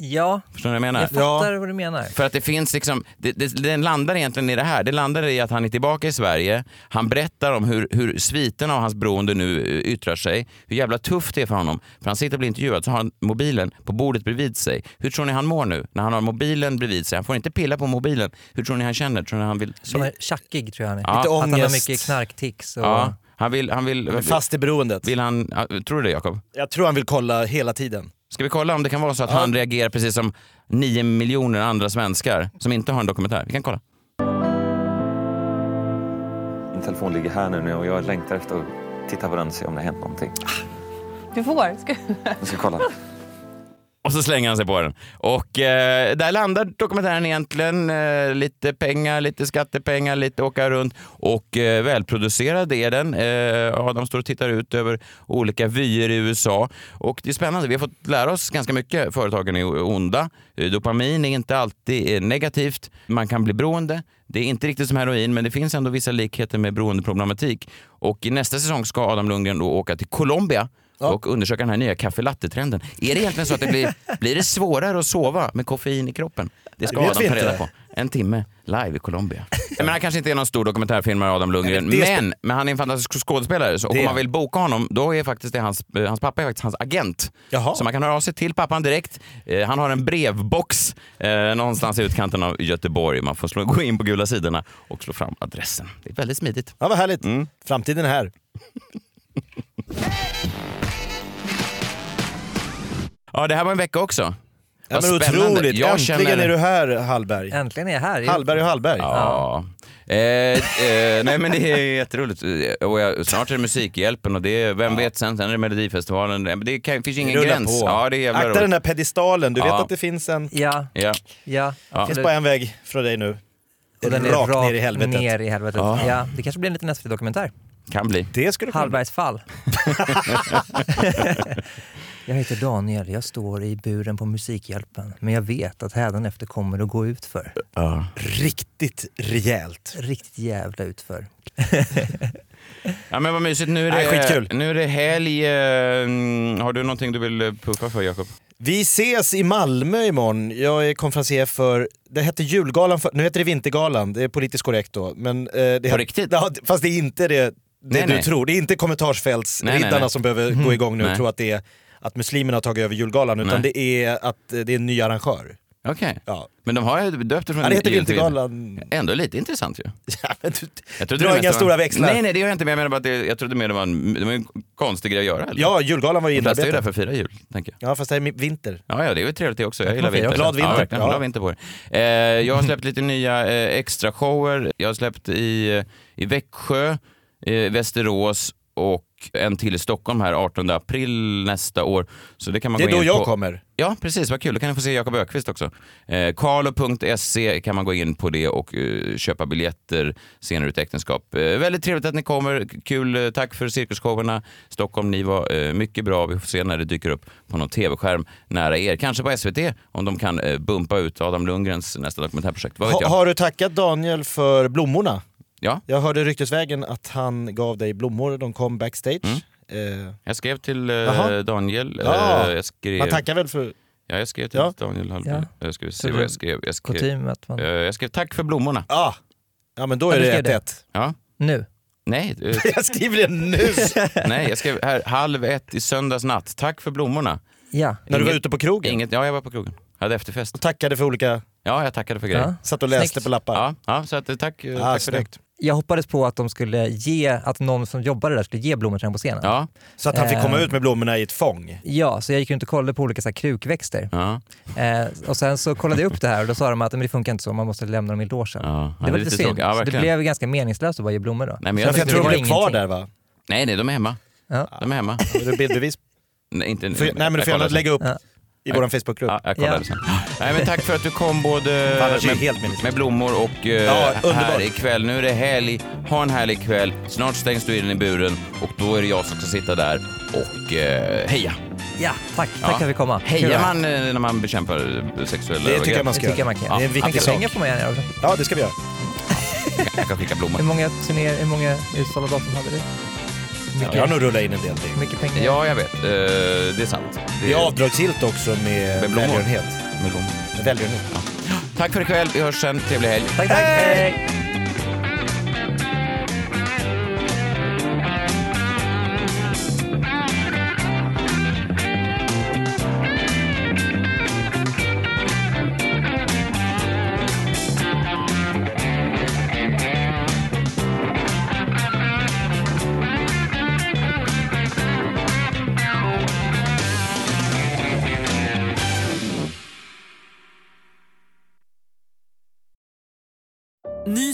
S6: ja,
S4: Förstår ni vad jag menar?
S6: jag fattar vad du menar.
S4: För att det finns liksom, det, det, den landar egentligen i det här. Det landar i att han är tillbaka i Sverige. Han berättar om hur, hur sviten av hans beroende nu eh, yttrar sig. Hur jävla tufft det är för honom. För han sitter och blir intervjuad så har han mobilen på bordet bredvid sig. Hur tror ni han mår nu när han har mobilen bredvid sig? Han får inte pilla på mobilen. Hur tror ni han känner? Tror ni han vill...
S6: Som är tjackig tror jag han är.
S4: Ja. Lite
S6: Att han har
S4: ångest.
S6: mycket knarktics. Och...
S4: Ja, han vill... Han vill
S5: Fast i beroendet.
S4: Vill han, ja, tror du det Jakob?
S5: Jag tror han vill kolla hela tiden.
S4: Ska vi kolla om det kan vara så att han reagerar precis som 9 miljoner andra svenskar som inte har en dokumentär? Vi kan kolla.
S7: Min telefon ligger här nu och jag längtar efter att titta på den och se om det har hänt någonting.
S9: Du får. Ska...
S7: Jag ska kolla.
S4: Och så slänger han sig på den. Och eh, där landar dokumentären egentligen. Eh, lite pengar, lite skattepengar, lite åka runt. Och eh, välproducerad är den. Eh, Adam står och tittar ut över olika vyer i USA. Och det är spännande. Vi har fått lära oss ganska mycket. Företagen är o- onda. Eh, Dopamin är inte alltid eh, negativt. Man kan bli beroende. Det är inte riktigt som heroin, men det finns ändå vissa likheter med beroendeproblematik. Och i nästa säsong ska Adam Lundgren då åka till Colombia och undersöka den här nya kaffelattetrenden. Är det egentligen så att det
S5: (laughs)
S4: blir, blir det svårare att sova med koffein i kroppen? Det ska
S5: Det vet
S4: Adam
S5: vi
S4: ta reda
S5: inte.
S4: på. En timme live i Colombia. Men han kanske inte är någon stor dokumentärfilmare Adam Lundgren,
S5: Nej, men det är-
S4: men, men han är en fantastisk skådespelare. Så, och
S5: Det är
S4: om man
S5: han.
S4: vill boka honom, då är faktiskt det hans, eh, hans pappa är faktiskt hans agent. Så man kan höra av sig till pappan direkt. Eh, han har en brevbox eh, någonstans i utkanten av Göteborg. Man får slå, (laughs) gå in på gula sidorna och slå fram adressen. Det är väldigt smidigt.
S5: Ja, vad härligt.
S4: Mm.
S5: Framtiden är här.
S4: Ja, det här var en vecka också.
S5: Ja,
S4: Vad
S5: men
S4: spännande.
S5: otroligt.
S4: Jag
S5: Äntligen
S4: känner-
S5: är du här, Hallberg.
S6: Äntligen är jag här.
S5: Hallberg och Hallberg.
S4: Ja. Eh, eh, nej men det är jätteroligt. Eh, Och jag, snart är det Musikhjälpen och det är, vem vet sen, sen är det Melodifestivalen. Eh, men Det kan, finns ju ingen
S5: Rulla
S4: gräns.
S5: på.
S4: Ja, det är jävla
S5: Akta den
S4: roligt.
S5: där pedestalen, du
S4: Ja.
S5: vet att det finns en...
S6: Ja,
S4: Ja.
S6: ja.
S4: Ja.
S5: Det finns bara en väg från dig nu.
S6: Och den är
S5: rakt
S6: rakt
S5: ner i helvetet.
S6: ner i helvetet.
S5: Ja.
S6: Ja, det kanske blir en liten
S5: (laughs)
S6: SVT-dokumentär.
S4: Kan bli.
S5: Det skulle kunna
S6: Hallbergs fall. (laughs) jag heter Daniel, jag står i buren på Musikhjälpen. Men jag vet att hädanefter kommer det att gå ut för.
S4: Ja.
S5: Riktigt rejält.
S6: Riktigt jävla utför.
S4: ja men vad mysigt. Nu är det,
S5: Nej, skitkul.
S4: Nu är det helg. Eh, mm, Har du någonting du vill eh, puffa för Jakob?
S5: Vi ses i Malmö imorgon. Jag är konferencier för, det hette julgalan, för, nu heter det vintergalan, det är politiskt korrekt då. Men, eh, det
S4: På riktigt?
S5: Ja, fast det är inte det, det
S4: Nej,
S5: du
S4: nej.
S5: tror. Det är inte kommentarsfältsriddarna
S4: Nej, nej, nej.
S5: som behöver gå igång nu och
S4: Nej.
S5: tro att det är att muslimerna har tagit över julgalan, utan
S4: Nej.
S5: det är att eh, det är en ny arrangör.
S4: Okej.
S5: Ja.
S4: Men de har ju döpt det från
S5: Ja, det heter
S4: jul till vinter.
S5: Vintergalan.
S4: Ändå lite intressant ju.
S5: Ja, men du,
S4: Jag
S5: Dra
S4: det
S5: inga
S4: mest var-
S5: stora växlar.
S4: Nej, nej det gör jag inte. Men jag menar bara att det, jag trodde mer det var en, det var en konstig grej att göra. Eller?
S5: ja julgalan var ju
S4: De flesta är ju där
S5: inarbetad.
S4: för att fira jul, tänker jag.
S5: Ja, fast det är vinter.
S4: Ja, ja, det är väl trevligt det också. Jag
S5: Att
S4: gillar
S5: man firar
S4: vinter.
S5: glad vinter.
S4: Ja, verkligen.
S5: Ja.
S4: Glad vinter på er. Eh, jag har släppt lite nya eh, extra shower. Jag har släppt i, eh, i Växjö, eh, Västerås och en till i Stockholm här 18 april nästa år. Så det kan man
S5: Det är
S4: gå in
S5: då jag
S4: på.
S5: kommer.
S4: Ja, precis. Vad kul. Då kan ni få se Jakob Ökvist också. Eh, Carlo.se E kan man gå in på det och eh, köpa biljetter senare ut i äktenskap. Eh, väldigt trevligt att ni kommer. Kul. Eh, tack för cirkusshowerna. Stockholm, ni var eh, mycket bra. Vi får se när det dyker upp på någon tv-skärm nära er. Kanske på SVT om de kan eh, bumpa ut Adam Lundgrens nästa dokumentärprojekt. Vad vet
S5: Ha,
S4: jag?
S5: har du tackat Daniel för blommorna?
S4: Ja.
S5: Jag hörde ryktesvägen att han gav dig blommor, de kom backstage. Eh,
S4: Jag skrev till eh,
S5: Jaha.
S4: Daniel.
S5: Ja.
S4: Eh, jag skrev...
S5: Man tackar väl för...
S4: Ja, jag skrev till
S5: Ja.
S4: Daniel Hallberg.
S5: Ja.
S4: Jag ska
S5: Så
S4: se vad
S5: det-
S4: jag skrev. Jag skrev,
S6: kutym att man-
S4: Eh, jag skrev tack för blommorna.
S5: Ja, ja men då är
S6: Ja, du
S5: det
S6: skrev det.
S5: 1-1.
S4: Ja.
S6: Nu.
S4: Nej, eh,
S5: (laughs) Jag skriver det nu!
S4: nej, jag skrev här halv ett i söndags natt. Tack för blommorna.
S6: Ja.
S5: När du var ute på krogen?
S4: Inget, ja, jag var på krogen. Hade efterfest.
S5: Och tackade för olika...
S4: Ja, jag tackade för grejer.
S6: Ja.
S5: Satt och läste
S6: Snyggt.
S5: på lappar.
S4: Ja, ja så att, eh, tack, eh,
S5: Ah,
S4: tack för
S5: snyggt.
S4: det.
S6: Jag hoppades på att de skulle ge, att någon som jobbade där skulle ge blommor till honom på scenen.
S4: Ja.
S5: Så att han fick komma
S6: Eh.
S5: ut med blommorna i ett fång.
S6: Ja, så jag gick runt och kollade på olika så här, krukväxter.
S4: Ja.
S6: Eh, och sen så kollade jag upp det här och då sa de att "Men det funkar inte så, man måste lämna dem i logen.
S4: Ja,
S6: Det
S4: det
S6: var
S4: är
S6: lite
S4: lite
S6: synd.
S4: tråkigt. Ja,
S6: så det
S4: verkligen.
S6: blev ganska meningslöst att bara ge blommor då.
S4: Nej, men
S5: Jag,
S4: jag,
S5: jag
S4: tyckte
S5: tror
S4: det
S5: de
S4: var
S5: blev
S4: ingenting.
S5: kvar där va?
S4: Nej, nej, de är hemma.
S6: Ja.
S4: De är hemma.
S5: Har du bildbevis?
S4: Nej, inte,
S5: Får jag- nej, men du får gärna
S4: kollar sen.
S5: lägga upp
S6: Ja.
S5: i vår Facebookgrupp.
S4: Ja, jag kollar
S6: Ja.
S4: det sen. Nej, men tack för att du kom både
S5: Annars är det
S4: med,
S5: helt meningslöst.
S4: med blommor och eh,
S5: Ja,
S4: här
S5: underbart.
S4: ikväll. Nu är det helg. Ha en härlig kväll. Snart stängs du in i buren och då är det jag som ska sitta där och eh, heja.
S6: Ja, tack. Tack
S4: Ja.
S6: för att vi kom. Kul.
S4: Hejar man eh, när man bekämpar eh, sexuella
S5: Det
S4: övergrepp?
S5: tycker jag man ska
S6: Det tycker jag man kan.
S5: Det är en
S6: Man
S5: viktig
S6: kan
S5: sak.
S6: pengar på mig här också.
S5: Ja, det ska vi göra.
S4: Jag kan skicka blommor.
S6: Hur många turnéer, hur många utsålda datum hade du?
S5: Ja, jag har nog rullat in en del ting.
S6: mycket pengar?
S4: Ja, jag vet. Eh, det är sant.
S5: Det är avdragsgillt också med,
S4: Med blommor.
S5: välgörenhet.
S4: Med blommor.
S5: Med välgörenhet.
S4: Tack för ikväll. Vi hörs sen. Trevlig helg.
S6: Tack, tack. Hej!
S1: Ny